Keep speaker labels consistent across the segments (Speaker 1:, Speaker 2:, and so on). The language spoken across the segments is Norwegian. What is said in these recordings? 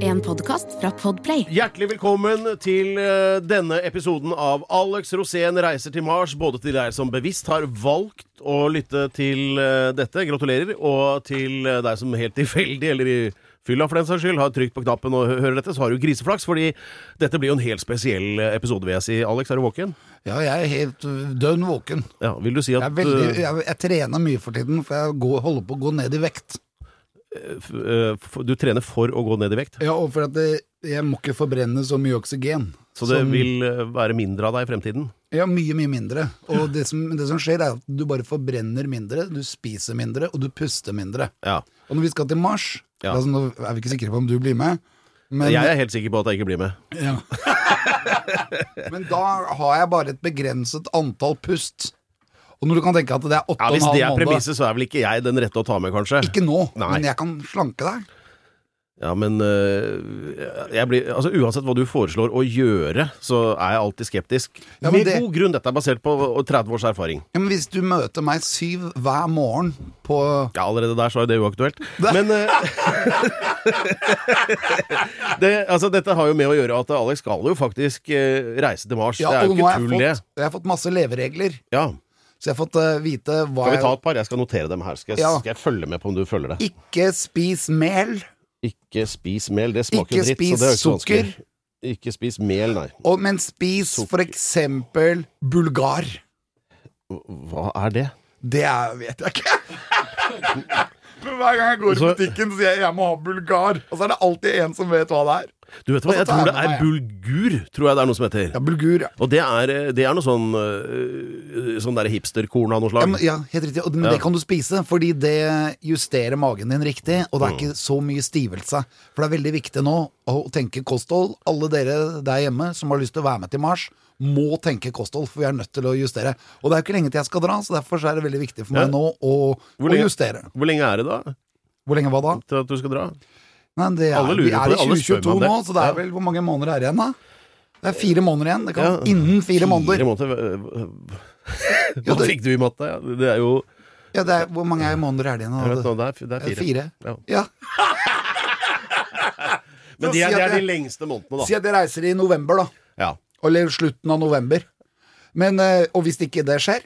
Speaker 1: en podkast fra Podplay.
Speaker 2: Hjertelig velkommen til eh, denne episoden av Alex Rosén reiser til Mars. Både til deg som bevisst har valgt å lytte til eh, dette, gratulerer, og til eh, deg som helt tilfeldig eller i fylla for den saks skyld har trykt på knappen og hø- hører dette, så har du griseflaks, fordi dette blir jo en helt spesiell eh, episode, vil jeg si. Alex, er du våken?
Speaker 3: Ja, jeg er helt øh, dønn våken.
Speaker 2: Ja, vil du si
Speaker 3: Jeg,
Speaker 2: at
Speaker 3: er veldig,
Speaker 2: eh,
Speaker 3: jeg, jeg trener mye for tiden, for jeg går, holder på å gå ned i vekt.
Speaker 2: f- eh, f- du trener for å gå ned i vekt?
Speaker 3: Ja, og for at det, jeg må ikke forbrenne så mye oksygen.
Speaker 2: Så det
Speaker 3: som-
Speaker 2: vil eh, være mindre av deg i fremtiden?
Speaker 3: Ja, mye, mye mindre. Og det som, det som skjer, er at du bare forbrenner mindre, du spiser mindre, og du puster mindre.
Speaker 2: Ja.
Speaker 3: Og når vi skal til Mars
Speaker 2: Ja.
Speaker 3: altså, Nå er vi ikke sikre på om du blir med, men,
Speaker 2: Jeg er helt sikker på at jeg ikke blir med.
Speaker 3: ja. men da har jeg bare et begrenset antall pust. Og når du kan tenke at det er åtte
Speaker 2: Ja,
Speaker 3: og en
Speaker 2: Hvis
Speaker 3: halv
Speaker 2: det er
Speaker 3: måned
Speaker 2: premisset, så er vel ikke jeg den rette å ta med, kanskje.
Speaker 3: Ikke nå,
Speaker 2: Nei.
Speaker 3: men jeg kan slanke deg.
Speaker 2: Ja, men øh, jeg blir, altså, uansett hva du foreslår å gjøre, så er jeg alltid skeptisk.
Speaker 3: Ja, men
Speaker 2: Med
Speaker 3: det-
Speaker 2: god grunn. Dette er basert på øh, 30 års erfaring.
Speaker 3: Ja, men hvis du møter meg syv hver morgen på
Speaker 2: Ja, allerede der så er det uaktuelt. Men øh, det, altså, Dette har jo med å gjøre at Alex skal jo faktisk øh, reise til Mars.
Speaker 3: ja,
Speaker 2: det er
Speaker 3: og
Speaker 2: jo
Speaker 3: nå
Speaker 2: ikke
Speaker 3: har jeg,
Speaker 2: tull, det.
Speaker 3: fått, jeg har fått masse leveregler,
Speaker 2: Ja.
Speaker 3: så jeg har fått eh, vite hva
Speaker 2: Skal vi ta
Speaker 3: jeg
Speaker 2: et par? Jeg skal notere dem her. Skal jeg,
Speaker 3: Ja.
Speaker 2: skal jeg følge med på om du følger det?
Speaker 3: Ikke spis mel,
Speaker 2: Ikke spis mel. Det smaker
Speaker 3: Ikke
Speaker 2: jo dritt.
Speaker 3: spis
Speaker 2: så det er jo ikke så
Speaker 3: sukker.
Speaker 2: vanskelig. Ikke spis mel, nei.
Speaker 3: og, men spis
Speaker 2: Sukker.
Speaker 3: for eksempel bulgar.
Speaker 2: Hva er det?
Speaker 3: Det er, vet jeg ikke. Men hver gang jeg går
Speaker 2: Så-
Speaker 3: i butikken, sier jeg jeg må ha bulgar. Og så er det alltid en som vet hva det Altså, er.
Speaker 2: Du vet hva,
Speaker 3: Og så
Speaker 2: Jeg
Speaker 3: tar
Speaker 2: tror
Speaker 3: jeg
Speaker 2: det
Speaker 3: med
Speaker 2: er bulgur, tror jeg det er noe som heter.
Speaker 3: Ja, bulgur, ja.
Speaker 2: Og det er, det er noe sånn øh, Sånn der hipsterkorn av noe
Speaker 3: Ja,
Speaker 2: slag.
Speaker 3: men, ja, helt riktig. Og- Men
Speaker 2: Ja.
Speaker 3: det kan du spise, fordi det justerer magen din riktig, og det
Speaker 2: Mm.
Speaker 3: er ikke så mye stivelse. For det er veldig viktig nå å tenke kosthold. Alle dere der hjemme som har lyst til å være med til Mars, må tenke kosthold, for vi er nødt til å justere. Og det er jo ikke lenge til jeg skal dra, så derfor så er det veldig viktig for meg
Speaker 2: Ja.
Speaker 3: nå å,
Speaker 2: Hvor
Speaker 3: å
Speaker 2: lenge-
Speaker 3: justere.
Speaker 2: Hvor lenge er det da
Speaker 3: Hvor lenge var det da?
Speaker 2: til at du skal dra?
Speaker 3: Nei, det er,
Speaker 2: Alle lurer
Speaker 3: vi
Speaker 2: på
Speaker 3: er
Speaker 2: det,
Speaker 3: i
Speaker 2: alle spør
Speaker 3: 2022
Speaker 2: meg om det.
Speaker 3: nå, så det
Speaker 2: Ja.
Speaker 3: er vel hvor mange måneder er det igjen da? Det er fire måneder igjen. Det kan,
Speaker 2: Ja.
Speaker 3: Innen fire måneder.
Speaker 2: måneder. Hva
Speaker 3: Ja, det-
Speaker 2: fikk du i matte? Ja, Det er jo
Speaker 3: Ja, det er, hvor mange måneder er det igjen?
Speaker 2: jeg vet,
Speaker 3: da?
Speaker 2: nå, det, er, f- det er
Speaker 3: Eh,
Speaker 2: fire.
Speaker 3: Fire.
Speaker 2: Ja.
Speaker 3: Ja.
Speaker 2: Men det er,
Speaker 3: Si at
Speaker 2: det er de
Speaker 3: jeg-
Speaker 2: lengste månedene,
Speaker 3: Si
Speaker 2: da.
Speaker 3: at jeg reiser i november, da.
Speaker 2: Ja.
Speaker 3: Eller slutten av november. Men, eh, og hvis ikke det skjer,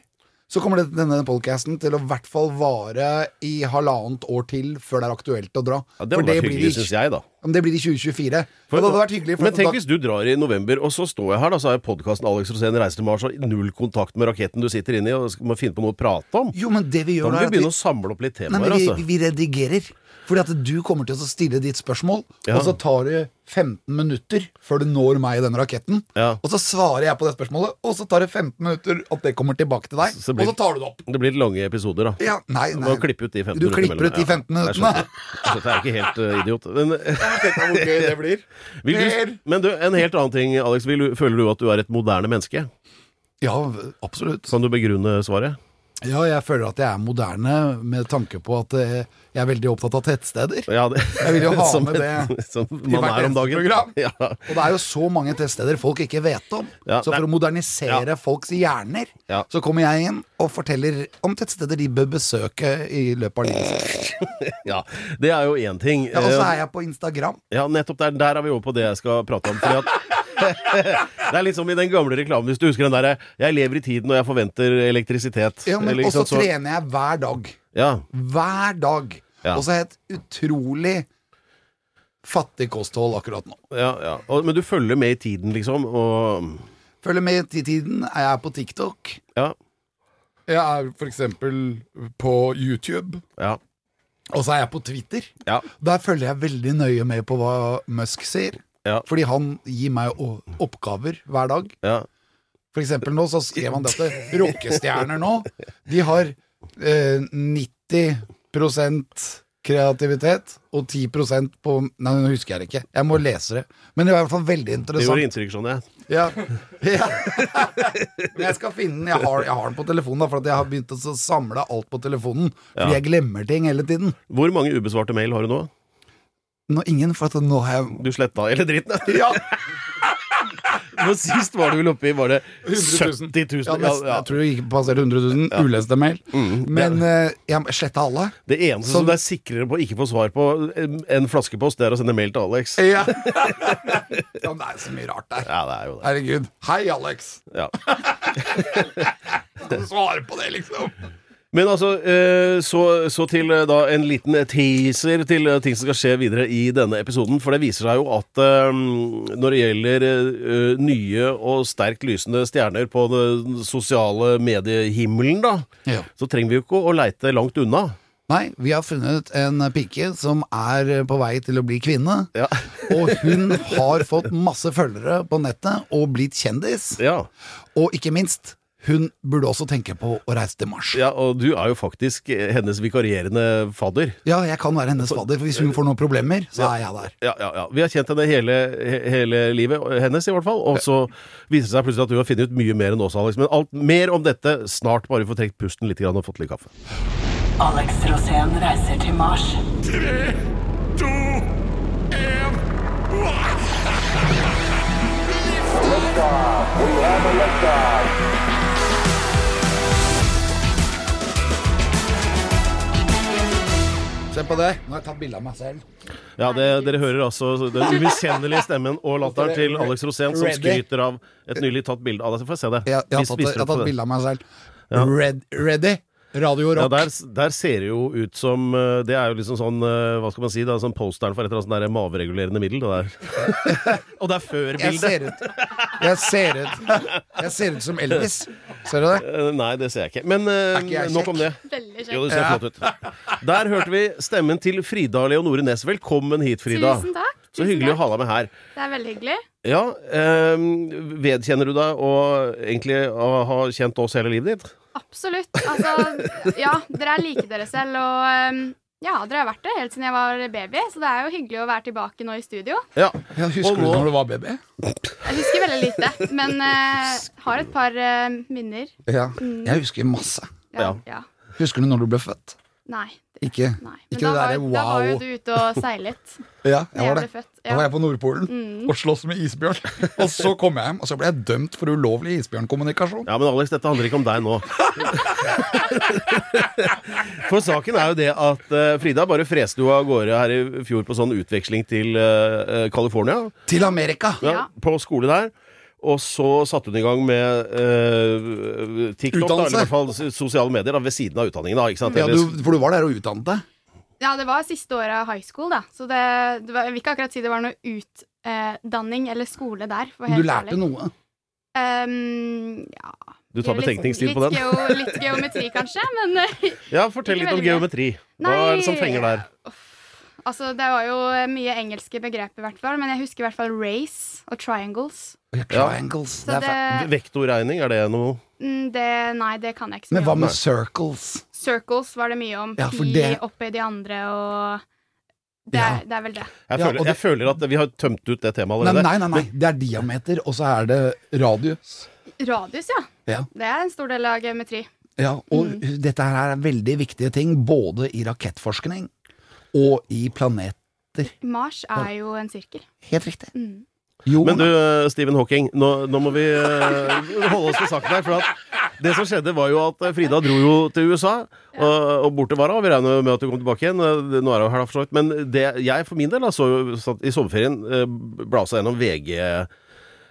Speaker 3: så kommer det, denne podcasten til å i hvert fall vare i halvannet år til før det er aktuelt å dra.
Speaker 2: ja det hadde vært
Speaker 3: blir
Speaker 2: hyggelig,
Speaker 3: i-
Speaker 2: syns jeg, da.
Speaker 3: Ja, men det blir i 2024.
Speaker 2: For-
Speaker 3: og det hadde vært hyggelig.
Speaker 2: Men tenk
Speaker 3: da-
Speaker 2: hvis du drar i november, og så står jeg her, da, så er podkasten Alex Rosén reiser til Mars, og null kontakt med raketten du sitter inne i, og skal- må finne på noe å prate om.
Speaker 3: Jo, men det vi
Speaker 2: Da
Speaker 3: gjør
Speaker 2: må vi
Speaker 3: nå er at vi,
Speaker 2: begynne å samle opp litt
Speaker 3: nei,
Speaker 2: temaer,
Speaker 3: men
Speaker 2: altså.
Speaker 3: vi, vi redigerer. Fordi at du kommer til å stille ditt spørsmål,
Speaker 2: Ja.
Speaker 3: og så tar det 15 minutter før du når meg i den raketten.
Speaker 2: Ja.
Speaker 3: Og så svarer jeg på det spørsmålet, og så tar det 15 minutter at det kommer tilbake til deg.
Speaker 2: Så blir-
Speaker 3: Og så tar du det opp.
Speaker 2: Det blir litt lange episoder, da.
Speaker 3: Ja, nei,
Speaker 2: Du
Speaker 3: nei.
Speaker 2: må klippe ut de 15
Speaker 3: Du
Speaker 2: minuttene
Speaker 3: klipper ut de 15
Speaker 2: Ja, jeg
Speaker 3: minuttene.
Speaker 2: skjønte. Jeg skjønte, jeg er ikke helt eh, idiot. Men,
Speaker 3: Tenk deg hvor gøy det blir.
Speaker 2: vil du,
Speaker 3: Mer.
Speaker 2: men du, en helt annen ting, Alex. Vil du, føler du at du er et moderne menneske?
Speaker 3: Ja, absolutt.
Speaker 2: Kan du begrunne svaret?
Speaker 3: Ja, jeg føler at jeg er moderne med tanke på at eh, jeg er veldig opptatt av tettsteder.
Speaker 2: Ja, det,
Speaker 3: Jeg vil jo ha
Speaker 2: som
Speaker 3: med
Speaker 2: et-
Speaker 3: det
Speaker 2: Som
Speaker 3: hvert
Speaker 2: man er om
Speaker 3: eneste
Speaker 2: dagen.
Speaker 3: program.
Speaker 2: Ja.
Speaker 3: Og det er jo så mange tettsteder folk ikke vet om.
Speaker 2: Ja,
Speaker 3: så
Speaker 2: det
Speaker 3: for
Speaker 2: er-
Speaker 3: å modernisere folks hjerner,
Speaker 2: Ja.
Speaker 3: så kommer jeg inn og forteller om tettsteder de bør besøke i løpet av livet sitt.
Speaker 2: ja, det er jo én ting.
Speaker 3: Ja, og så
Speaker 2: Eh,
Speaker 3: er jeg på Instagram.
Speaker 2: Ja, nettopp der, der er vi over på det jeg skal prate om. Fordi at det er litt som i den gamle reklamen, hvis du husker den derre 'Jeg lever i tiden og jeg forventer elektrisitet'.
Speaker 3: Ja, men
Speaker 2: Eller, ikke
Speaker 3: også
Speaker 2: sant, så-
Speaker 3: trener jeg hver dag.
Speaker 2: Ja,
Speaker 3: Hver dag.
Speaker 2: Ja.
Speaker 3: Og så har jeg et utrolig fattig kosthold akkurat nå.
Speaker 2: ja, ja. Og, men du følger med i tiden, liksom, og
Speaker 3: Følg med til tiden. Jeg er på TikTok.
Speaker 2: Ja.
Speaker 3: Jeg er for eksempel på YouTube.
Speaker 2: Ja.
Speaker 3: Og så er jeg på Twitter.
Speaker 2: Ja.
Speaker 3: Der følger jeg veldig nøye med på hva Musk sier.
Speaker 2: Ja.
Speaker 3: Fordi han gir meg o- oppgaver hver dag.
Speaker 2: ja.
Speaker 3: For eksempel nå så skrev han dette. Rockestjerner nå, de har eh, 90 kreativitet og 10 på Nei, nå husker jeg det ikke. Jeg må lese det. Men det var i hvert fall veldig
Speaker 2: Det
Speaker 3: interessant.
Speaker 2: gjorde inntrykk, skjønner jeg.
Speaker 3: Ja. ja. Men jeg skal finne den. Jeg har, jeg har den på telefonen, da, for at jeg har begynt å så samle alt på telefonen. Fordi
Speaker 2: Ja.
Speaker 3: jeg glemmer ting hele tiden.
Speaker 2: Hvor mange ubesvarte mail har du nå?
Speaker 3: Nå, ingen, for at nå har jeg
Speaker 2: Du sletta hele dritten.
Speaker 3: Ja!
Speaker 2: For sist var du vel oppe i var det 70
Speaker 1: 000.
Speaker 2: 000?
Speaker 3: Ja, nesten,
Speaker 2: Ja,
Speaker 3: Jeg
Speaker 2: ja.
Speaker 3: tror det gikk passer 100 000 uleste mail. Men eh, jeg sletta alle.
Speaker 2: Det eneste som det er sikrere på å ikke få svar på eh, enn flaskepost, det er å sende mail til Alex.
Speaker 3: Ja. men det er så mye rart der.
Speaker 2: Ja, det er jo det.
Speaker 3: Herregud. Hei, Alex.
Speaker 2: Ja.
Speaker 3: Kan du svare på det, liksom?
Speaker 2: Men altså, eh, så, så til eh, da en liten teaser til eh, ting som skal skje videre i denne episoden. For det viser seg jo at eh, når det gjelder eh, nye og sterkt lysende stjerner på den sosiale mediehimmelen, da,
Speaker 3: Ja.
Speaker 2: så trenger vi jo ikke å leite langt unna.
Speaker 3: Nei, vi har funnet en pike som er på vei til å bli kvinne.
Speaker 2: Ja.
Speaker 3: Og hun har fått masse følgere på nettet og blitt kjendis.
Speaker 2: Ja,
Speaker 3: Og ikke minst, hun burde også tenke på å reise til Mars.
Speaker 2: ja og du er jo faktisk eh, hennes vikarierende fadder.
Speaker 3: Ja, jeg kan være hennes fadder, for hvis hun får noen problemer, så er jeg der.
Speaker 2: Ja, ja, ja. Vi har kjent henne hele, he- hele livet, hennes i hvert fall. Og så viser det seg plutselig at du har funnet ut mye mer enn oss, Alex. Men alt, mer om dette snart, bare vi får trukket pusten litt grann og fått litt kaffe.
Speaker 4: Alex Rosén reiser til Mars.
Speaker 3: Se på det. Nå har jeg tatt bilde av meg selv.
Speaker 2: Ja, det, dere hører altså den umiskjennelige stemmen og latteren til Alex Rosén, som
Speaker 3: Ready.
Speaker 2: skryter av et nylig tatt bilde av deg. Så får jeg se det.
Speaker 3: Jeg, jeg har
Speaker 2: Vis-
Speaker 3: tatt,
Speaker 2: viser du
Speaker 3: jeg har
Speaker 2: på
Speaker 3: tatt
Speaker 2: det.
Speaker 3: bilde av meg selv. Red, ready? Radio
Speaker 2: Ja,
Speaker 3: Rock.
Speaker 2: der, der ser det jo ut som eh, Det er jo liksom sånn eh, Hva skal man si? Det er sånn posteren for et eller annet sånn der maveregulerende middel. Det der. og det er før
Speaker 3: Jeg
Speaker 2: bildet.
Speaker 3: ser ut Jeg ser ut Jeg ser ut som Elvis. Ser du det?
Speaker 2: Eh, Nei, det ser jeg ikke. Men eh,
Speaker 3: ikke jeg
Speaker 2: nok om det.
Speaker 5: Veldig
Speaker 2: Jo,
Speaker 5: kjekt.
Speaker 2: det ser flott ut. Der hørte vi stemmen til Frida Leonore Næss. Velkommen hit, Frida.
Speaker 5: Tusen takk.
Speaker 2: Så
Speaker 5: tusen
Speaker 2: hyggelig å
Speaker 5: takk.
Speaker 2: ha deg med her.
Speaker 5: Det er veldig hyggelig.
Speaker 2: Ja, ehm, Vedkjenner du deg å egentlig å ha kjent oss hele livet ditt?
Speaker 5: Absolutt. Altså, ja, dere er like dere selv, og ehm, ja, dere har vært det helt siden jeg var baby, så det er jo hyggelig å være tilbake nå i studio.
Speaker 2: Ja.
Speaker 3: Ja,
Speaker 2: Og
Speaker 3: husker du
Speaker 2: nå-
Speaker 3: når du var baby?
Speaker 5: Jeg husker veldig lite, men eh, har et par eh, minner.
Speaker 3: Ja. Jeg husker masse.
Speaker 5: Ja.
Speaker 2: Ja.
Speaker 5: ja.
Speaker 3: Husker du når du ble født?
Speaker 5: Nei.
Speaker 3: Ikke,
Speaker 5: nei. Men
Speaker 3: ikke det
Speaker 5: da, var,
Speaker 3: derre
Speaker 5: jo- da var jo
Speaker 3: wow.
Speaker 5: du ute og seilet
Speaker 3: Ja, Mm.
Speaker 5: da
Speaker 3: jeg
Speaker 5: jeg
Speaker 3: var
Speaker 5: ble
Speaker 3: det.
Speaker 5: født.
Speaker 3: Da var
Speaker 5: Ja.
Speaker 3: jeg på Nordpolen og sloss med isbjørn. Og så kom jeg hjem, og så ble jeg dømt for ulovlig isbjørnkommunikasjon.
Speaker 2: Ja, Men Alex, dette handler ikke om deg nå. For saken er jo det at eh, Frida bare freste jo av gårde her i fjor på sånn utveksling til eh, eh, California.
Speaker 3: Til Amerika!
Speaker 2: ja,
Speaker 5: Ja.
Speaker 2: på skole der. Og så satte hun i gang med eh, TikTok, da,
Speaker 3: Utdannelse.
Speaker 2: eller i hvert fall s- sosiale medier, da, ved siden av utdanningen. Da, ikke sant?
Speaker 3: Ja,
Speaker 2: Ellers-
Speaker 3: du, for du var der og utdannet deg?
Speaker 5: ja, det var siste året av high school, da, så det, det var, jeg vil ikke akkurat si det var noe utdanning eller skole der. for å være
Speaker 3: Du
Speaker 5: helt
Speaker 3: lærte
Speaker 5: ærlig.
Speaker 3: noe.
Speaker 5: Ehm, ja,
Speaker 2: du tar
Speaker 5: Gjør litt-
Speaker 2: betenkningstid på
Speaker 5: litt
Speaker 2: den.
Speaker 5: Geo, litt geometri, kanskje, men eh,
Speaker 2: Ja, Fortell
Speaker 5: ikke
Speaker 2: litt om
Speaker 5: veldig mye.
Speaker 2: geometri. Hva
Speaker 5: Nei.
Speaker 2: er det som fenger der?
Speaker 5: altså, det var jo mye engelske begrep, i hvert fall. Men jeg husker i hvert fall race og triangles.
Speaker 3: Ja, Triangles.
Speaker 5: Så
Speaker 3: det
Speaker 5: det,
Speaker 3: er fæ-
Speaker 2: Vektorregning, er det noe?
Speaker 5: mm, det Nei, det kan jeg ikke så
Speaker 3: Men
Speaker 5: mye
Speaker 3: hva
Speaker 5: om.
Speaker 3: med circles?
Speaker 5: Circles var det mye om.
Speaker 3: Ja, for
Speaker 5: Pi
Speaker 3: det-
Speaker 5: oppi de andre og det
Speaker 3: Ja.
Speaker 5: er, det er vel det.
Speaker 2: Jeg,
Speaker 3: Ja,
Speaker 2: føler,
Speaker 3: og
Speaker 2: jeg føler at vi har tømt ut det temaet
Speaker 3: Nei,
Speaker 2: allerede.
Speaker 3: nei, nei, nei. Det er diameter, og så er det radius.
Speaker 5: Radius, ja.
Speaker 3: Ja.
Speaker 5: Det er en stor del av geometri.
Speaker 3: Ja, og
Speaker 5: Mm.
Speaker 3: dette her er veldig viktige ting, både i rakettforskning og i planet.
Speaker 5: Mars er jo en sirkel.
Speaker 3: Helt riktig.
Speaker 5: Mm.
Speaker 3: Jo,
Speaker 2: Men du, eh, Stephen Hawking, nå, nå må vi eh, holde oss til saken her. For at det som skjedde, var jo at eh, Frida dro jo til USA, og, og borte var hun. Vi regner med at hun kom tilbake igjen. eh, Nå er hun her, da, for så vidt. Men det, jeg for min del da, så jo satt i sommerferien eh, bla seg gjennom VG.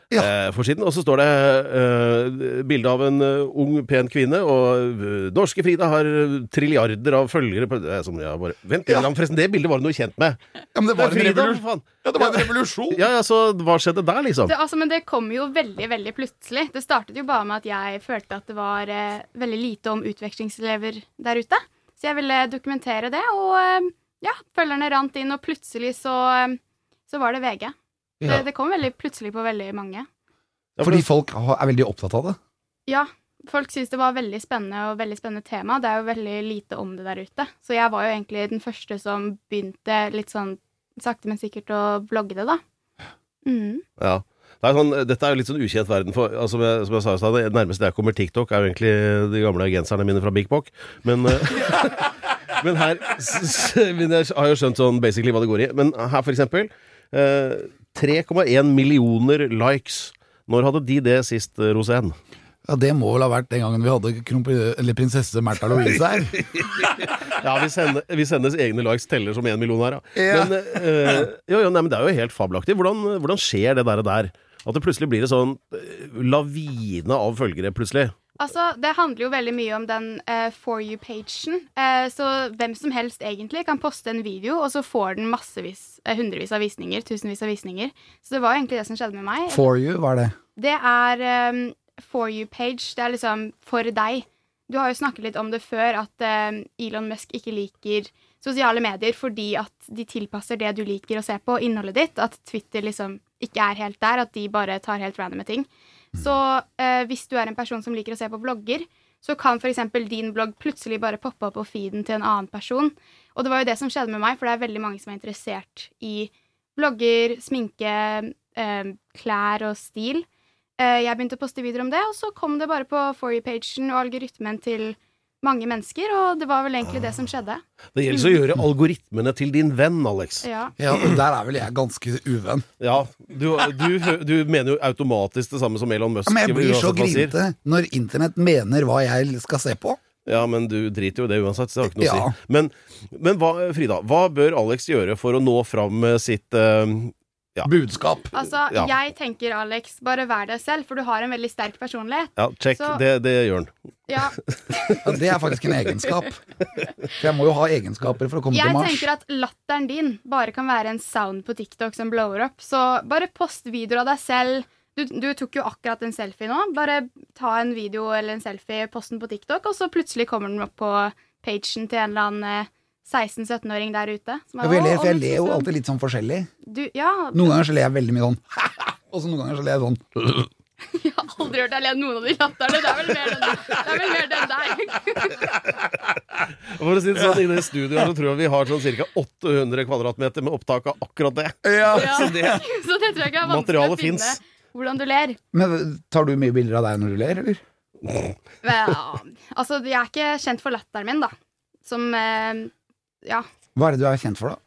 Speaker 3: Ja.
Speaker 2: eh, Forsiden, og så står det eh, bilde av en eh, ung, pen kvinne, og eh, norske Frida har eh, trilliarder av følgere på det, er som jeg bare, Vent,
Speaker 3: Ja.
Speaker 2: forresten, det bildet var du noe kjent med.
Speaker 3: Ja, men det
Speaker 2: Det
Speaker 3: var
Speaker 2: er
Speaker 3: en
Speaker 2: Frida,
Speaker 3: revolusjon.
Speaker 2: for faen.
Speaker 3: Ja, det var en revolusjon.
Speaker 2: Ja, ja, så hva skjedde der, liksom?
Speaker 5: Det, altså, men det kom jo veldig veldig plutselig. Det startet jo bare med at jeg følte at det var eh, veldig lite om utvekslingselever der ute. Så jeg ville dokumentere det, og eh, ja, følgerne rant inn, og plutselig så, eh, så var det VG. Det, det kom veldig plutselig på veldig mange.
Speaker 2: Ja, for
Speaker 3: Fordi folk har- er veldig opptatt av det.
Speaker 5: Ja, folk syntes det var veldig spennende og veldig spennende tema. Det er jo veldig lite om det der ute. Så jeg var jo egentlig den første som begynte litt sånn sakte, men sikkert å blogge det, da. Mm.
Speaker 2: Ja. Det er sånn, dette er jo litt sånn ukjent verden. For, altså, som, jeg, som jeg sa i stad, det nærmeste jeg kommer TikTok, er jo egentlig de gamle genserne mine fra Big Bock. Men, eh, men her s- s- men Jeg har jo skjønt sånn basically hva det går i. Men her, for eksempel eh, 3,1 millioner likes. Når hadde de det sist, eh, Rosén?
Speaker 3: Ja, Det må vel ha vært den gangen vi hadde kronprin- eller prinsesse Märtha Louise her.
Speaker 2: Ja, vi, sender, vi sendes egne likes teller som én million her, ja.
Speaker 3: Ja.
Speaker 2: Men, eh, jo, jo, nei, men det er jo helt fabelaktig. Hvordan, hvordan skjer det der, der? At det plutselig blir en sånn eh, lavine av følgere, plutselig.
Speaker 5: Altså, Det handler jo veldig mye om den eh, for you-pagen. Eh, så hvem som helst egentlig kan poste en video, og så får den massevis, eh, hundrevis av visninger. Tusenvis av visninger. Så det var jo egentlig det som skjedde med meg.
Speaker 3: For you, hva er det?
Speaker 5: Det er eh, for you-page. Det er liksom for deg. Du har jo snakket litt om det før, at eh, Elon Musk ikke liker sosiale medier fordi at de tilpasser det du liker å se på, innholdet ditt. At Twitter liksom ikke er helt der, at de bare tar helt randome ting. Så eh, hvis du er en person som liker å se på blogger, så kan f.eks. din blogg plutselig bare poppe opp på feeden til en annen person. Og det var jo det som skjedde med meg, for det er veldig mange som er interessert i blogger, sminke, eh, klær og stil. Eh, jeg begynte å poste videoer om det, og så kom det bare på for you-pagen og algoritmen til mange mennesker, og det var vel egentlig det som skjedde.
Speaker 2: Det gjelder å gjøre algoritmene til din venn, Alex.
Speaker 5: Ja.
Speaker 3: Ja, og Der er vel jeg ganske uvenn.
Speaker 2: Ja, du, du, hø- du mener jo automatisk det samme som Elon Musk.
Speaker 3: Ja, men jeg blir så
Speaker 2: uansett hva han sier.
Speaker 3: grinete når internett mener hva jeg skal se på.
Speaker 2: Ja, men du driter jo i det uansett, så det har ikke noe
Speaker 3: Ja.
Speaker 2: å si. Men, men hva, Frida, hva bør Alex gjøre for å nå fram med sitt eh, Ja.
Speaker 3: Budskap.
Speaker 5: Altså,
Speaker 2: Ja.
Speaker 5: jeg tenker, Alex, bare vær deg selv, for du har en veldig sterk personlighet.
Speaker 2: Ja, check,
Speaker 5: Så-
Speaker 2: det, det gjør han.
Speaker 5: Ja,
Speaker 3: Ja, det er faktisk en egenskap. For jeg må jo ha egenskaper for å komme
Speaker 5: jeg
Speaker 3: til Mars.
Speaker 5: tenker at latteren din bare kan være en sound på TikTok som blower opp. Så bare post videoer av deg selv. Du, du tok jo akkurat en selfie nå. Bare ta en video eller en selfie, post den på TikTok, og så plutselig kommer den opp på pagen til en eller annen eh, 16-17-åring der ute. som
Speaker 3: Ja,
Speaker 5: er,
Speaker 3: for jeg
Speaker 5: «Å,
Speaker 3: ler, for jeg
Speaker 5: Alex,
Speaker 3: ler jo
Speaker 5: så-
Speaker 3: alltid litt sånn forskjellig.
Speaker 5: Du, ja,
Speaker 3: Noen ganger så ler jeg veldig mye sånn Og så noen ganger så ler jeg sånn
Speaker 5: jeg har aldri hørt deg le av noen av de latterne. Det er vel mer den, det er vel mer den der.
Speaker 2: For å si det sånn, Inne i studio her så tror jeg vi har sånn ca. 800 kvadratmeter med opptak av akkurat det.
Speaker 5: Ja. Så, det, tror jeg ikke er vanskelig
Speaker 2: Materialet
Speaker 5: å finne
Speaker 2: finnes.
Speaker 5: hvordan du ler.
Speaker 3: Men tar du mye bilder av deg når du ler, eller?
Speaker 5: Men, ja, altså, jeg er ikke kjent for latteren min, da. Som eh, Ja.
Speaker 3: Hva er det du er kjent for, da?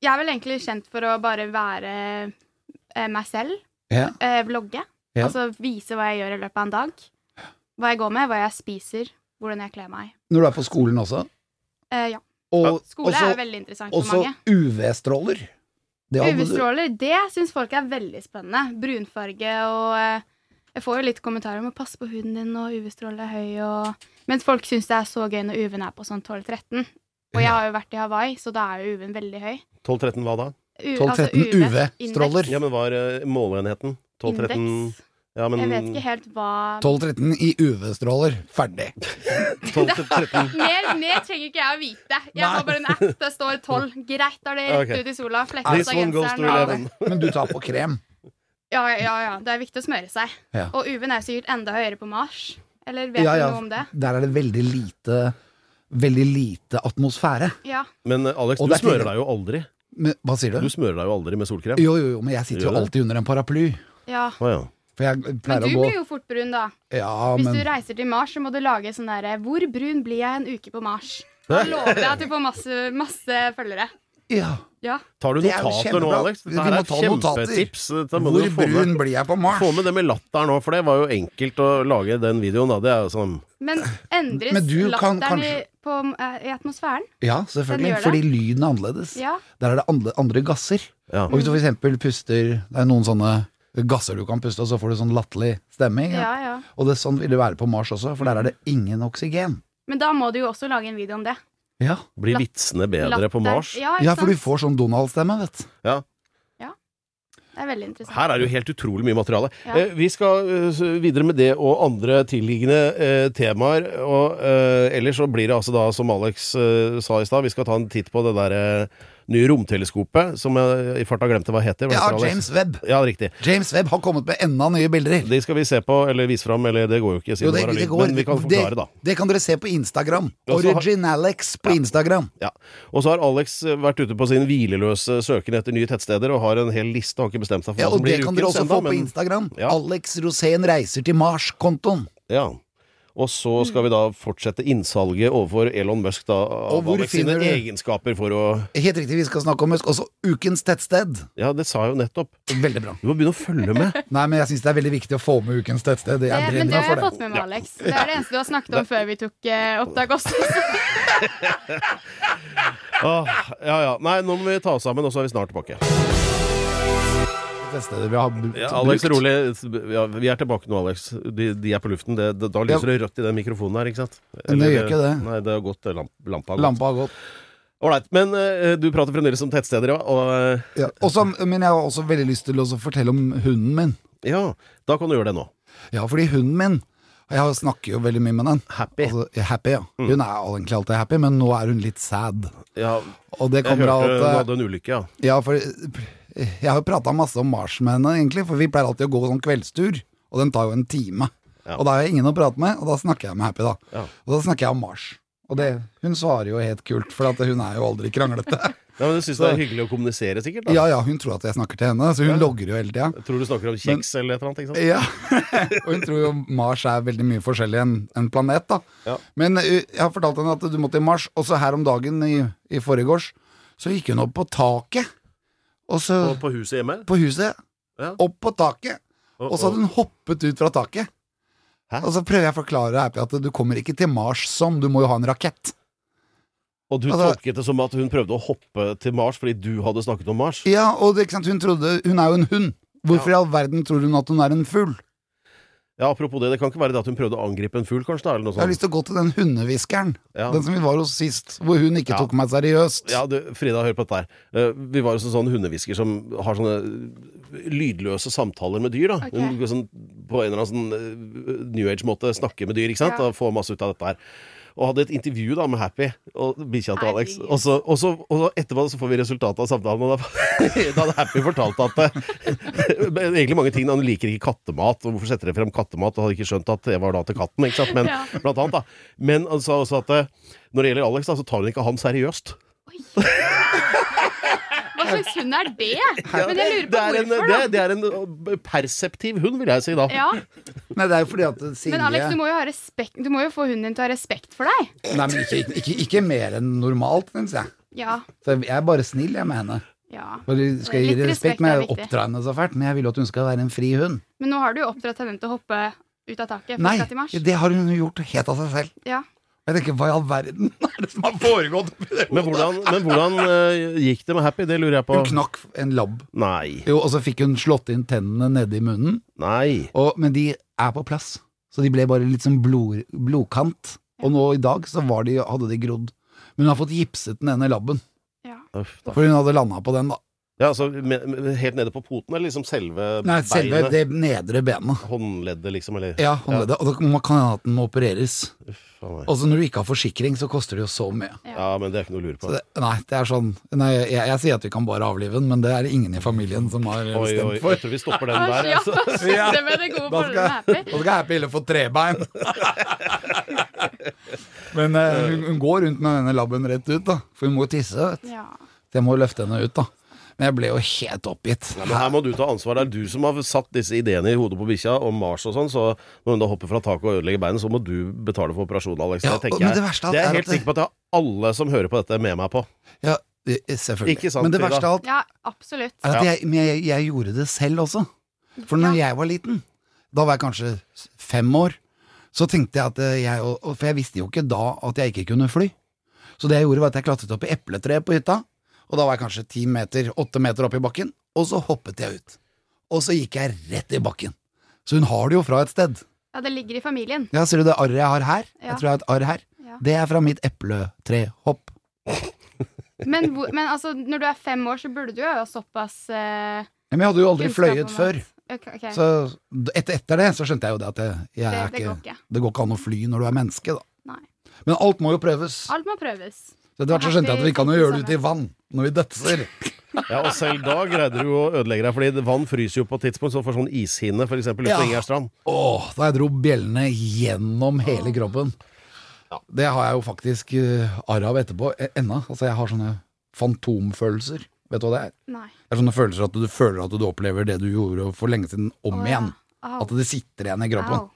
Speaker 5: Jeg er vel egentlig kjent for å bare være eh, meg selv.
Speaker 3: Ja.
Speaker 5: Eh, vlogge.
Speaker 3: Ja.
Speaker 5: Altså vise hva jeg gjør i løpet av en dag. Hva jeg går med, hva jeg spiser, hvordan jeg kler meg.
Speaker 3: Når du er på skolen også?
Speaker 5: Eh, ja.
Speaker 3: Og,
Speaker 5: Skole
Speaker 3: også,
Speaker 5: er veldig interessant for
Speaker 3: også
Speaker 5: mange. altså
Speaker 3: UV-stråler. Det hadde du-
Speaker 5: UV-stråler, det syns folk er veldig spennende. Brunfarge og eh, Jeg får jo litt kommentarer om å passe på huden din, og UV-strålen er høy, og Mens folk syns det er så gøy når UV-en er på sånn 12-13. Og jeg har jo vært i Hawaii, så da er jo UV-en veldig høy.
Speaker 2: 12-13 hva da?
Speaker 5: U-
Speaker 3: 12-13
Speaker 5: altså UV,
Speaker 3: UV-stråler.
Speaker 2: Ja, men var eh, måleenheten 12-13
Speaker 5: Indeks.
Speaker 2: ja, men,
Speaker 5: Jeg vet ikke helt hva
Speaker 3: 12-13 i UV-stråler. Ferdig.
Speaker 2: 12-13
Speaker 5: mer, mer trenger ikke jeg å vite. Jeg
Speaker 3: Nei.
Speaker 5: har bare en app. Det står 12. Greit, da er det rett
Speaker 2: Ok.
Speaker 5: ut i sola. Fletta
Speaker 2: This
Speaker 5: av
Speaker 2: one goes to
Speaker 5: Altså, genseren. og-
Speaker 2: 11.
Speaker 3: Men du tar på krem.
Speaker 5: Ja, ja, ja. Det er viktig å smøre seg.
Speaker 3: Ja.
Speaker 5: Og UV-en er jo sikkert enda høyere på Mars. Eller vet
Speaker 3: Ja,
Speaker 5: du
Speaker 3: ja.
Speaker 5: noe om det?
Speaker 3: Der er det veldig lite Veldig lite atmosfære.
Speaker 5: Ja.
Speaker 2: Men eh, Alex,
Speaker 3: Og
Speaker 2: du
Speaker 3: det er
Speaker 2: smører
Speaker 3: tidlig.
Speaker 2: deg jo aldri.
Speaker 3: Men, hva sier
Speaker 2: Du
Speaker 3: du?
Speaker 2: smører deg jo aldri med solkrem.
Speaker 3: Jo, jo, jo, men jeg sitter jo
Speaker 2: Gjør det?
Speaker 3: alltid under en paraply.
Speaker 5: ja.
Speaker 2: Å, ja.
Speaker 3: For jeg
Speaker 5: Men
Speaker 3: pleier
Speaker 5: du
Speaker 3: å gå
Speaker 5: blir jo fort brun, da.
Speaker 3: Ja,
Speaker 5: Hvis du
Speaker 3: men
Speaker 5: reiser til Mars, så må du lage sånn derre 'Hvor brun blir jeg en uke på Mars?' Da lover jeg at du får masse, masse følgere.
Speaker 3: ja.
Speaker 5: Ja.
Speaker 2: Tar du
Speaker 3: Det er jo
Speaker 2: notater nå,
Speaker 3: kjempebra.
Speaker 2: Alex?
Speaker 3: Vi
Speaker 2: Dette her
Speaker 3: må
Speaker 2: er
Speaker 3: ta notater.
Speaker 2: kjempetips. Dette må
Speaker 3: Hvor
Speaker 2: du få med.
Speaker 3: brun blir jeg på Mars?
Speaker 2: Få med det med latter nå, for det var jo enkelt å lage den videoen. Da. Det er jo sånn
Speaker 5: Men endres
Speaker 3: Men du kan
Speaker 5: latteren i, på, eh, i atmosfæren?
Speaker 3: Ja,
Speaker 5: Den
Speaker 3: selvfølgelig.
Speaker 5: gjør det.
Speaker 3: Fordi lyden er annerledes.
Speaker 5: Ja.
Speaker 3: Der er det andre, andre gasser.
Speaker 2: ja.
Speaker 3: Og hvis
Speaker 5: Mm.
Speaker 3: du for eksempel puster Det er noen sånne gasser du kan puste, og så får du sånn latterlig stemme. ikke
Speaker 5: ja,
Speaker 3: sant?
Speaker 5: ja.
Speaker 3: Og det, sånn vil det være på Mars også, for der er det ingen oksygen.
Speaker 5: Men da må du jo også lage en video om det.
Speaker 3: Ja,
Speaker 2: Blir vitsene bedre
Speaker 5: Latter.
Speaker 2: på Mars?
Speaker 5: Ja, ikke
Speaker 3: ja for du
Speaker 5: sant?
Speaker 3: får sånn Donald-stemme, vet du.
Speaker 2: Ja.
Speaker 5: Det er veldig interessant. Eh,
Speaker 2: Her er det jo helt utrolig mye materiale.
Speaker 5: Ja.
Speaker 2: Eh, vi skal eh, s- videre med det og andre tilliggende eh, temaer. Og eh, ellers så blir det altså da, som Alex eh, sa i stad, vi skal ta en titt på det der eh, nye romteleskopet som jeg i farta glemte hva heter. Hva
Speaker 3: Ja,
Speaker 2: heter det, Alex?
Speaker 3: James Webb.
Speaker 2: Ja, riktig.
Speaker 3: James Webb har kommet med enda nye bilder.
Speaker 2: De skal vi se på, eller vise fram, eller det går jo ikke, siden
Speaker 3: Jo, det,
Speaker 2: var
Speaker 3: det
Speaker 2: lyd.
Speaker 3: går.
Speaker 2: Men vi kan forklare, da.
Speaker 3: Det, det kan dere se på Instagram.
Speaker 2: Og så har-
Speaker 3: Originalex på Instagram.
Speaker 2: Ja. Og så har Alex eh, vært ute på sin hvileløse søken etter nye tettsteder og har en hel liste. Har ikke bestemt seg for
Speaker 3: Ja,
Speaker 2: hva
Speaker 3: og
Speaker 2: som
Speaker 3: det
Speaker 2: blir
Speaker 3: kan
Speaker 2: ukens
Speaker 3: dere også få
Speaker 2: ennå,
Speaker 3: på
Speaker 2: men-
Speaker 3: Instagram.
Speaker 2: Ja.
Speaker 3: Alex Rosén reiser til Mars-kontoen.
Speaker 2: Ja. Og så skal vi da fortsette innsalget overfor Elon Musk da,
Speaker 3: Og
Speaker 2: av
Speaker 3: hvor
Speaker 2: Alex sine
Speaker 3: finner du-
Speaker 2: egenskaper for å
Speaker 3: Helt riktig, vi skal snakke om Musk. Også ukens tettsted.
Speaker 2: Ja, det sa jeg jo nettopp.
Speaker 3: Veldig bra.
Speaker 2: Du må begynne å følge med.
Speaker 3: Nei, men jeg syns det er veldig viktig å få med ukens tettsted.
Speaker 5: Det,
Speaker 3: Jeg
Speaker 5: Eh, men det
Speaker 3: brenner
Speaker 5: har jeg
Speaker 3: for det.
Speaker 5: fått med meg, Alex. Det er det eneste du har snakket om før vi tok eh, opptak også.
Speaker 2: Åh, Ah, ja, ja. Nei, nå må vi ta oss sammen, og så er vi snart tilbake.
Speaker 3: Tettstedet vi har brukt.
Speaker 2: Ja, Alex, rolig. Ja, vi er tilbake nå, Alex. De, de er på luften. Det, det, da lyser det rødt i den mikrofonen her, ikke sant?
Speaker 3: Men det gjør ikke det.
Speaker 2: Nei, det har gått. eh, Lamp, lampa har gått.
Speaker 3: Lampa har gått.
Speaker 2: Ålreit. Men eh, du prater fremdeles om tettsteder, ja. Og eh,
Speaker 3: Ja. Også, men jeg har også veldig lyst til å også fortelle om hunden min.
Speaker 2: ja, da kan du gjøre det nå.
Speaker 3: Ja, fordi hunden min Jeg snakker jo veldig mye med den.
Speaker 2: Happy. Mm.
Speaker 3: Altså, happy, ja. Hun er egentlig alltid happy, men nå er hun litt sad.
Speaker 2: Ja,
Speaker 3: Og det
Speaker 2: jeg
Speaker 3: eh, kommer
Speaker 2: hørte
Speaker 3: av
Speaker 2: du
Speaker 3: at
Speaker 2: hadde en ulykke, ja.
Speaker 3: Ja, for jeg har jo prata masse om Mars med henne, egentlig, for vi pleier alltid å gå sånn kveldstur, og den tar jo en time.
Speaker 2: Ja.
Speaker 3: Og da har jeg ingen å prate med, og da snakker jeg med Happy, da.
Speaker 2: Ja.
Speaker 3: Og da snakker jeg om Mars. Og det, hun svarer jo helt kult, for at hun er jo aldri kranglete.
Speaker 2: Nei, men Du syns det er hyggelig å kommunisere, sikkert? da
Speaker 3: Ja ja, hun tror at jeg snakker til henne, så hun logrer jo hele tida.
Speaker 2: Jeg tror du snakker om kjeks eller et eller annet. ikke sant?
Speaker 3: Ja, og hun tror jo Mars er veldig mye forskjellig enn en planet, da.
Speaker 2: Ja.
Speaker 3: Men uh, jeg har fortalt henne at du må til Mars, og så her om dagen i, i forgårs, så gikk hun opp på taket. Og så
Speaker 2: På, på huset hjemme?
Speaker 3: på huset,
Speaker 2: Ja.
Speaker 3: opp på taket,
Speaker 2: Og-
Speaker 3: og så hadde hun hoppet ut fra taket.
Speaker 2: Hæ?
Speaker 3: Og så prøver jeg å forklare Happy at du kommer ikke til Mars sånn, du må jo ha en rakett.
Speaker 2: Og du
Speaker 3: Altså-
Speaker 2: tolket det som at hun prøvde å hoppe til Mars fordi du hadde snakket om Mars?
Speaker 3: Ja, og det, ikke sant, hun trodde Hun er jo en hund. Hvorfor i all verden tror hun at hun er en fugl?
Speaker 2: Ja, Apropos det, det kan ikke være det at hun prøvde å angripe en fugl, kanskje? da, eller noe
Speaker 3: Jeg har
Speaker 2: sånt?
Speaker 3: lyst til å gå til den hundehviskeren.
Speaker 2: Ja.
Speaker 3: Den som vi var hos sist, hvor hun ikke
Speaker 2: Ja.
Speaker 3: tok meg seriøst.
Speaker 2: Ja, du, Frida, hør på dette her. Eh, vi var hos en sånn hundehvisker som har sånne eh, lydløse samtaler med dyr. da.
Speaker 5: Ok.
Speaker 2: Hun går sånn, på en eller annen sånn eh, New Age-måte snakke med dyr ikke sant?
Speaker 5: Ja.
Speaker 2: og få masse ut av dette her. Og hadde et intervju da med Happy og bikkja til Alex.
Speaker 5: Herregud.
Speaker 2: Og så, og, så, og så etterpå så får vi resultatet av samtalen. Og da, da hadde Happy fortalt at eh, men Egentlig mange ting. da. Han liker ikke kattemat. Og hvorfor setter dere frem kattemat? Og hadde ikke skjønt at det var da til katten. ikke sant? Men,
Speaker 5: Ja.
Speaker 2: blant annet, da. Men han sa også at eh, når det gjelder Alex, da, så tar hun ikke han seriøst.
Speaker 5: Hva slags hund er det? Men jeg lurer
Speaker 2: Det
Speaker 5: på
Speaker 2: er, en,
Speaker 5: hvorfor,
Speaker 2: det,
Speaker 5: da.
Speaker 2: det er en uh, perseptiv hund, vil jeg si da.
Speaker 5: Ja,
Speaker 3: Nei, det er jo fordi at eh, Silje
Speaker 5: men Alex, du må jo, ha respekt, du må jo få hunden din til å ha respekt for deg.
Speaker 3: Nei, men ikke, ikke, ikke mer enn normalt, syns jeg.
Speaker 5: Ja,
Speaker 3: Så jeg er bare snill jeg med henne.
Speaker 5: ja.
Speaker 3: Bare skal jeg gi
Speaker 5: Litt
Speaker 3: det
Speaker 5: respekt
Speaker 3: respekt, men
Speaker 5: er
Speaker 3: jeg
Speaker 5: viktig.
Speaker 3: oppdrar henne så fælt. Men jeg vil jo at hun skal være en fri hund.
Speaker 5: Men nå har du jo oppdratt henne til å hoppe ut av taket. for
Speaker 3: Nei,
Speaker 5: skal til mars.
Speaker 3: det har hun jo gjort helt av seg selv.
Speaker 5: Ja.
Speaker 3: Jeg tenker, hva i all verden er det som har foregått?
Speaker 2: Men hvordan, men hvordan uh, gikk det med Happy? Det lurer jeg på.
Speaker 3: Hun knakk en labb.
Speaker 2: Nei.
Speaker 3: Jo, og så fikk hun slått inn tennene nede i munnen,
Speaker 2: Nei.
Speaker 3: og, men de er på plass. Så de ble bare litt sånn blod, blodkant. Og nå i dag så var de, hadde de grodd. Men hun har fått gipset den ene labben,
Speaker 5: ja.
Speaker 2: Uff, da.
Speaker 3: for hun hadde landa på den, da.
Speaker 2: Ja, altså, me- me- helt nede på poten, eller liksom selve
Speaker 3: Nei, selve
Speaker 2: beinet?
Speaker 3: det nedre benet.
Speaker 2: Håndleddet, liksom? Eller
Speaker 3: Ja, håndleddet. Og da må- kan hende at den må opereres.
Speaker 2: Uff, faen meg.
Speaker 3: Og så når du ikke har forsikring, så koster det jo så mye.
Speaker 2: Ja, men det er ikke noe å lure
Speaker 3: Så
Speaker 2: på.
Speaker 3: det, nei, det er sånn Nei, jeg, jeg, sier at vi kan bare avlive den, men det er det ingen i familien som har
Speaker 2: Oi, oi,
Speaker 3: bestemt for.
Speaker 2: jeg tror vi stopper den
Speaker 5: Asj,
Speaker 2: der.
Speaker 5: ja.
Speaker 2: Altså.
Speaker 3: Ja.
Speaker 5: Det med det
Speaker 3: Da
Speaker 5: gode forholdet med
Speaker 3: skal,
Speaker 5: Happy.
Speaker 3: da skal Happy heller få trebein. Men eh, hun, hun går rundt med denne labben rett ut, da. For hun må jo tisse, vet du.
Speaker 5: Ja.
Speaker 3: Så jeg må løfte henne ut, da. Men jeg ble jo helt oppgitt.
Speaker 2: Nei, men her må du ta ansvar. Det er du som har satt disse ideene i hodet på bikkja om Mars og sånn, så når hun da hopper fra taket og ødelegger beinet, så må du betale for operasjonen, Alex.
Speaker 3: Ja,
Speaker 2: det tenker
Speaker 3: men
Speaker 2: jeg.
Speaker 3: det verste av alt
Speaker 2: det er jeg
Speaker 3: er at
Speaker 2: helt
Speaker 3: det-
Speaker 2: sikker på at jeg har alle som hører på dette, med meg på.
Speaker 3: Ja, eh, selvfølgelig.
Speaker 2: Ikke sant,
Speaker 3: men det
Speaker 2: Frida?
Speaker 3: verste av alt
Speaker 5: ja, absolutt.
Speaker 3: er at
Speaker 2: Ja.
Speaker 3: jeg, men jeg, jeg gjorde det selv også. For når jeg var liten, da var jeg kanskje fem år, så tenkte jeg at eh, jeg og- og- For jeg visste jo ikke da at jeg ikke kunne fly. Så det jeg gjorde, var at jeg klatret opp i epletreet på hytta, og da var jeg kanskje ti meter, åtte meter opp i bakken, og så hoppet jeg ut. Og så gikk jeg rett i bakken. Så hun har det jo fra et sted.
Speaker 5: Ja, det ligger i familien.
Speaker 3: Ja, ser du det arret jeg har her?
Speaker 5: Ja.
Speaker 3: Jeg tror jeg har et arr her.
Speaker 5: Ja.
Speaker 3: Det er fra mitt epletrehopp.
Speaker 5: Men, hvor, men altså, når du er fem år, så burde du jo ha såpass uh,
Speaker 3: Ja, Men jeg hadde jo aldri fløyet før.
Speaker 5: Ok, ok.
Speaker 3: Så etter, etter det så skjønte jeg jo det at jeg, jeg
Speaker 5: det,
Speaker 3: er
Speaker 5: det
Speaker 3: ikke
Speaker 5: går ikke.
Speaker 3: Det går ikke an å fly når du er menneske, da.
Speaker 5: Nei.
Speaker 3: Men alt må jo prøves.
Speaker 5: Alt må prøves.
Speaker 3: Så Etter hvert så skjønte jeg at vi kan jo gjøre det ute i vann når vi dødser.
Speaker 2: Ja, og selv da greide du å ødelegge deg, fordi vann fryser jo på et tidspunkt, så du får sånn ishinne, for eksempel, ute
Speaker 3: Ja.
Speaker 2: på Ingjerdstrand.
Speaker 3: Åh, da jeg dro bjellene gjennom hele kroppen. Det har jeg jo faktisk uh, arr av etterpå eh, ennå. Altså, jeg har sånne fantomfølelser. Vet du hva det er?
Speaker 5: Nei.
Speaker 3: Det er sånne følelser at du føler at du opplever det du gjorde for lenge siden, om
Speaker 5: Å, ja.
Speaker 3: igjen.
Speaker 5: Au.
Speaker 3: At det sitter igjen i kroppen.
Speaker 5: Au.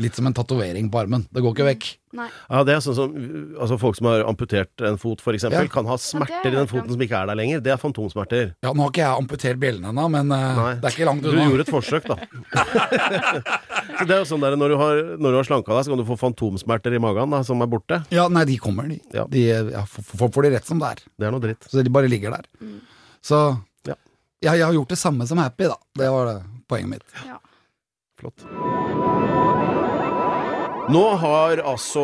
Speaker 3: Litt som en tatovering på armen. Det går ikke vekk.
Speaker 5: Nei.
Speaker 2: Ja, det er sånn som uh, altså Folk som har amputert en fot, f.eks.,
Speaker 3: Ja.
Speaker 2: eksempel kan ha smerter i den foten som ikke er der lenger. Det er fantomsmerter.
Speaker 3: Ja, Nå har ikke jeg amputert bjellen ennå, men eh,
Speaker 2: Nei.
Speaker 3: det er ikke langt
Speaker 2: Du
Speaker 3: unna.
Speaker 2: gjorde et forsøk, da. så det er jo sånn der, Når du har, når du har slanka deg, så kan du få fantomsmerter i magen da, som er borte.
Speaker 3: Ja, Nei, de kommer, de.
Speaker 2: Ja.
Speaker 3: de eh, ja, for- for- Folk får de rett som det er.
Speaker 2: Det er noe dritt.
Speaker 3: Så de bare ligger der. Så
Speaker 2: Ja.
Speaker 3: ja, jeg har gjort det samme som Happy, da. Det var det, poenget mitt.
Speaker 5: Ja.
Speaker 2: Flott. Nå har altså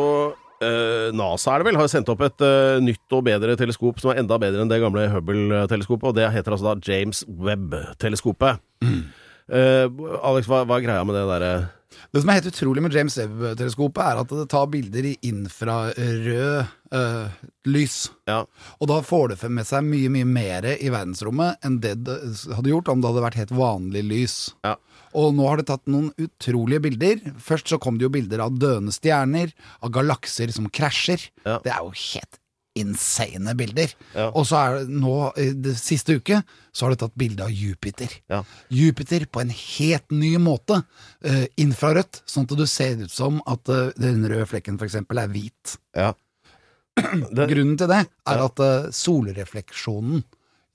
Speaker 2: eh, NASA er det vel, har sendt opp et eh, nytt og bedre teleskop som er enda bedre enn det gamle Hubble-teleskopet, og det heter altså da James Webb-teleskopet. Eh, Alex, hva, hva er greia med det derre
Speaker 3: Det som er helt utrolig med James Webb-teleskopet, er at det tar bilder i infrarød eh, lys.
Speaker 2: ja.
Speaker 3: Og da får det med seg mye, mye mer i verdensrommet enn det det hadde gjort om det hadde vært helt vanlig lys.
Speaker 2: Ja.
Speaker 3: Og nå har det tatt noen utrolige bilder. Først så kom det jo bilder av døende stjerner, av galakser som krasjer.
Speaker 2: Ja.
Speaker 3: Det er jo helt insane bilder.
Speaker 2: Ja.
Speaker 3: Og så er det nå, i det siste uke, så har det tatt bilde av Jupiter.
Speaker 2: Ja.
Speaker 3: Jupiter på en helt ny måte. eh, infrarødt, sånn at du ser ut som at eh, den røde flekken for eksempel er hvit.
Speaker 2: ja. Det,
Speaker 3: Grunnen til det er at eh, solrefleksjonen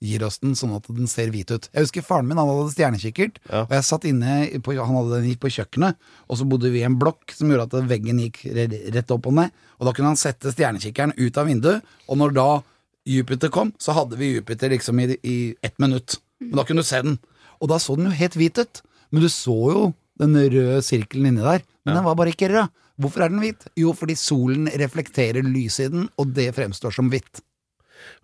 Speaker 3: gir oss den sånn at den ser hvit ut. Jeg husker faren min, han hadde stjernekikkert,
Speaker 2: Ja.
Speaker 3: og jeg satt inne på, han hadde den gikk på kjøkkenet, og så bodde vi i en blokk som gjorde at veggen gikk re- rett opp og ned, og da kunne han sette stjernekikkeren ut av vinduet, og når da Jupiter kom, så hadde vi Jupiter liksom i, i ett minutt. Men da kunne du se den. Og da så den jo helt hvit ut, men du så jo den røde sirkelen inni der, men den var bare ikke rød. Hvorfor er den hvit? Jo, fordi solen reflekterer lyset i den, og det fremstår som hvitt.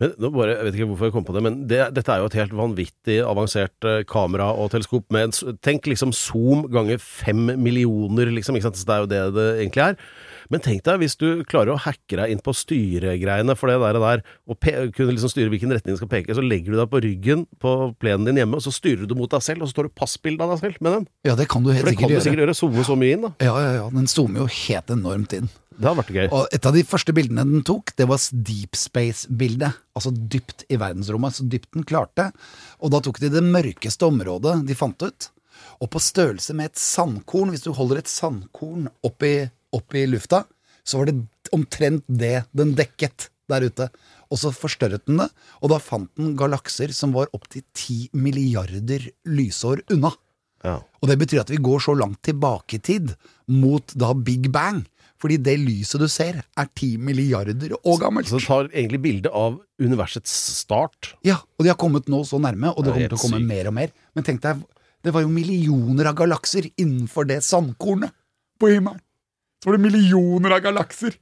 Speaker 2: men, nå bare, jeg vet ikke hvorfor jeg kom på det, men det, dette er jo et helt vanvittig avansert eh, kamera og teleskop med en, s- Tenk liksom zoom ganger fem millioner, liksom. Ikke sant? Så det er jo det det egentlig er. Men tenk deg hvis du klarer å hacke deg inn på styregreiene for det der, og der og pe kunne liksom styre hvilken retning det skal peke, så legger du deg på ryggen på plenen din hjemme, og så styrer du mot deg selv, og så tar du passbilde av deg selv med den.
Speaker 3: Ja, det kan du helt
Speaker 2: For det kan
Speaker 3: sikkert
Speaker 2: du
Speaker 3: gjøre.
Speaker 2: sikkert gjøre. Zoome så mye inn, da.
Speaker 3: Ja, ja, ja, den zoomer jo helt enormt inn.
Speaker 2: Det hadde vært gøy.
Speaker 3: Og et av de første bildene den tok, det var deep space-bildet. Altså dypt i verdensrommet, så dypt den klarte. Og da tok de det mørkeste området de fant ut. Og på størrelse med et sandkorn, hvis du holder et sandkorn opp i, opp i lufta, så var det omtrent det den dekket der ute. Og så forstørret den det, og da fant den galakser som var opptil ti milliarder lysår unna.
Speaker 2: Ja.
Speaker 3: Og det betyr at vi går så langt tilbake i tid, mot da Big Bang. Fordi det lyset du ser, er ti milliarder år gammelt.
Speaker 2: Så det tar egentlig bilde av universets start.
Speaker 3: Ja, og de har kommet nå så nærme, og
Speaker 2: Det er
Speaker 3: det kommer til å
Speaker 2: helt
Speaker 3: komme
Speaker 2: sykt.
Speaker 3: mer og mer. Men tenk deg, det var jo millioner av galakser innenfor det sandkornet på himmelen. Så var det millioner av galakser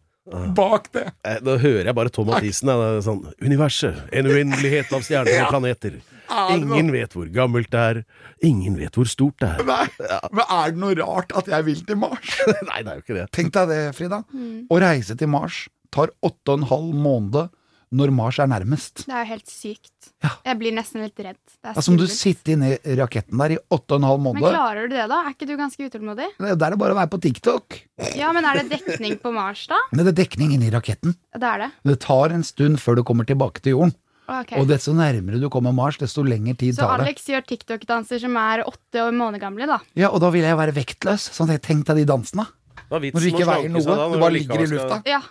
Speaker 3: bak det.
Speaker 2: Eh, Da hører jeg bare Tom Mathisen. jeg, det er Sånn, Universet, en uendelighet av stjerner og planeter.
Speaker 3: Er det noe-
Speaker 2: Ingen vet hvor gammelt det er. Ingen vet hvor stort det er.
Speaker 3: Nei, men er det noe rart at jeg vil til Mars?
Speaker 2: Nei, det er jo ikke det.
Speaker 3: Tenk deg det, Frida. Å reise til Mars tar åtte og en halv måned når Mars er nærmest.
Speaker 5: Det er jo helt sykt.
Speaker 3: Ja.
Speaker 5: Jeg blir nesten litt redd. Det er
Speaker 3: Altså, om du
Speaker 5: skummelt.
Speaker 3: sitter inne i raketten der i åtte og en halv
Speaker 5: Men
Speaker 3: måned
Speaker 5: klarer du det, da? Er ikke du ganske utålmodig?
Speaker 3: Der er det bare å være på TikTok.
Speaker 5: Ja, men er det dekning på Mars, da?
Speaker 3: Men det er dekning inni raketten.
Speaker 5: Det er det.
Speaker 3: Det tar en stund før du kommer tilbake til jorden.
Speaker 5: Ok.
Speaker 3: Og desto nærmere du kommer Mars, desto lengre tid
Speaker 5: Så
Speaker 3: tar det.
Speaker 5: Alex gjør TikTok-danser som er åtte år måneder gamle, da.
Speaker 3: Ja, Og da vil jeg være vektløs. Sånn at jeg tenkte deg de dansene.
Speaker 2: Hva er vitsen med
Speaker 3: Når du
Speaker 2: å
Speaker 3: ikke veier
Speaker 2: slanke
Speaker 3: noe,
Speaker 2: seg da, når
Speaker 3: du bare
Speaker 2: du
Speaker 3: ligger i
Speaker 2: likevel skal-
Speaker 3: lufta.
Speaker 5: Ja.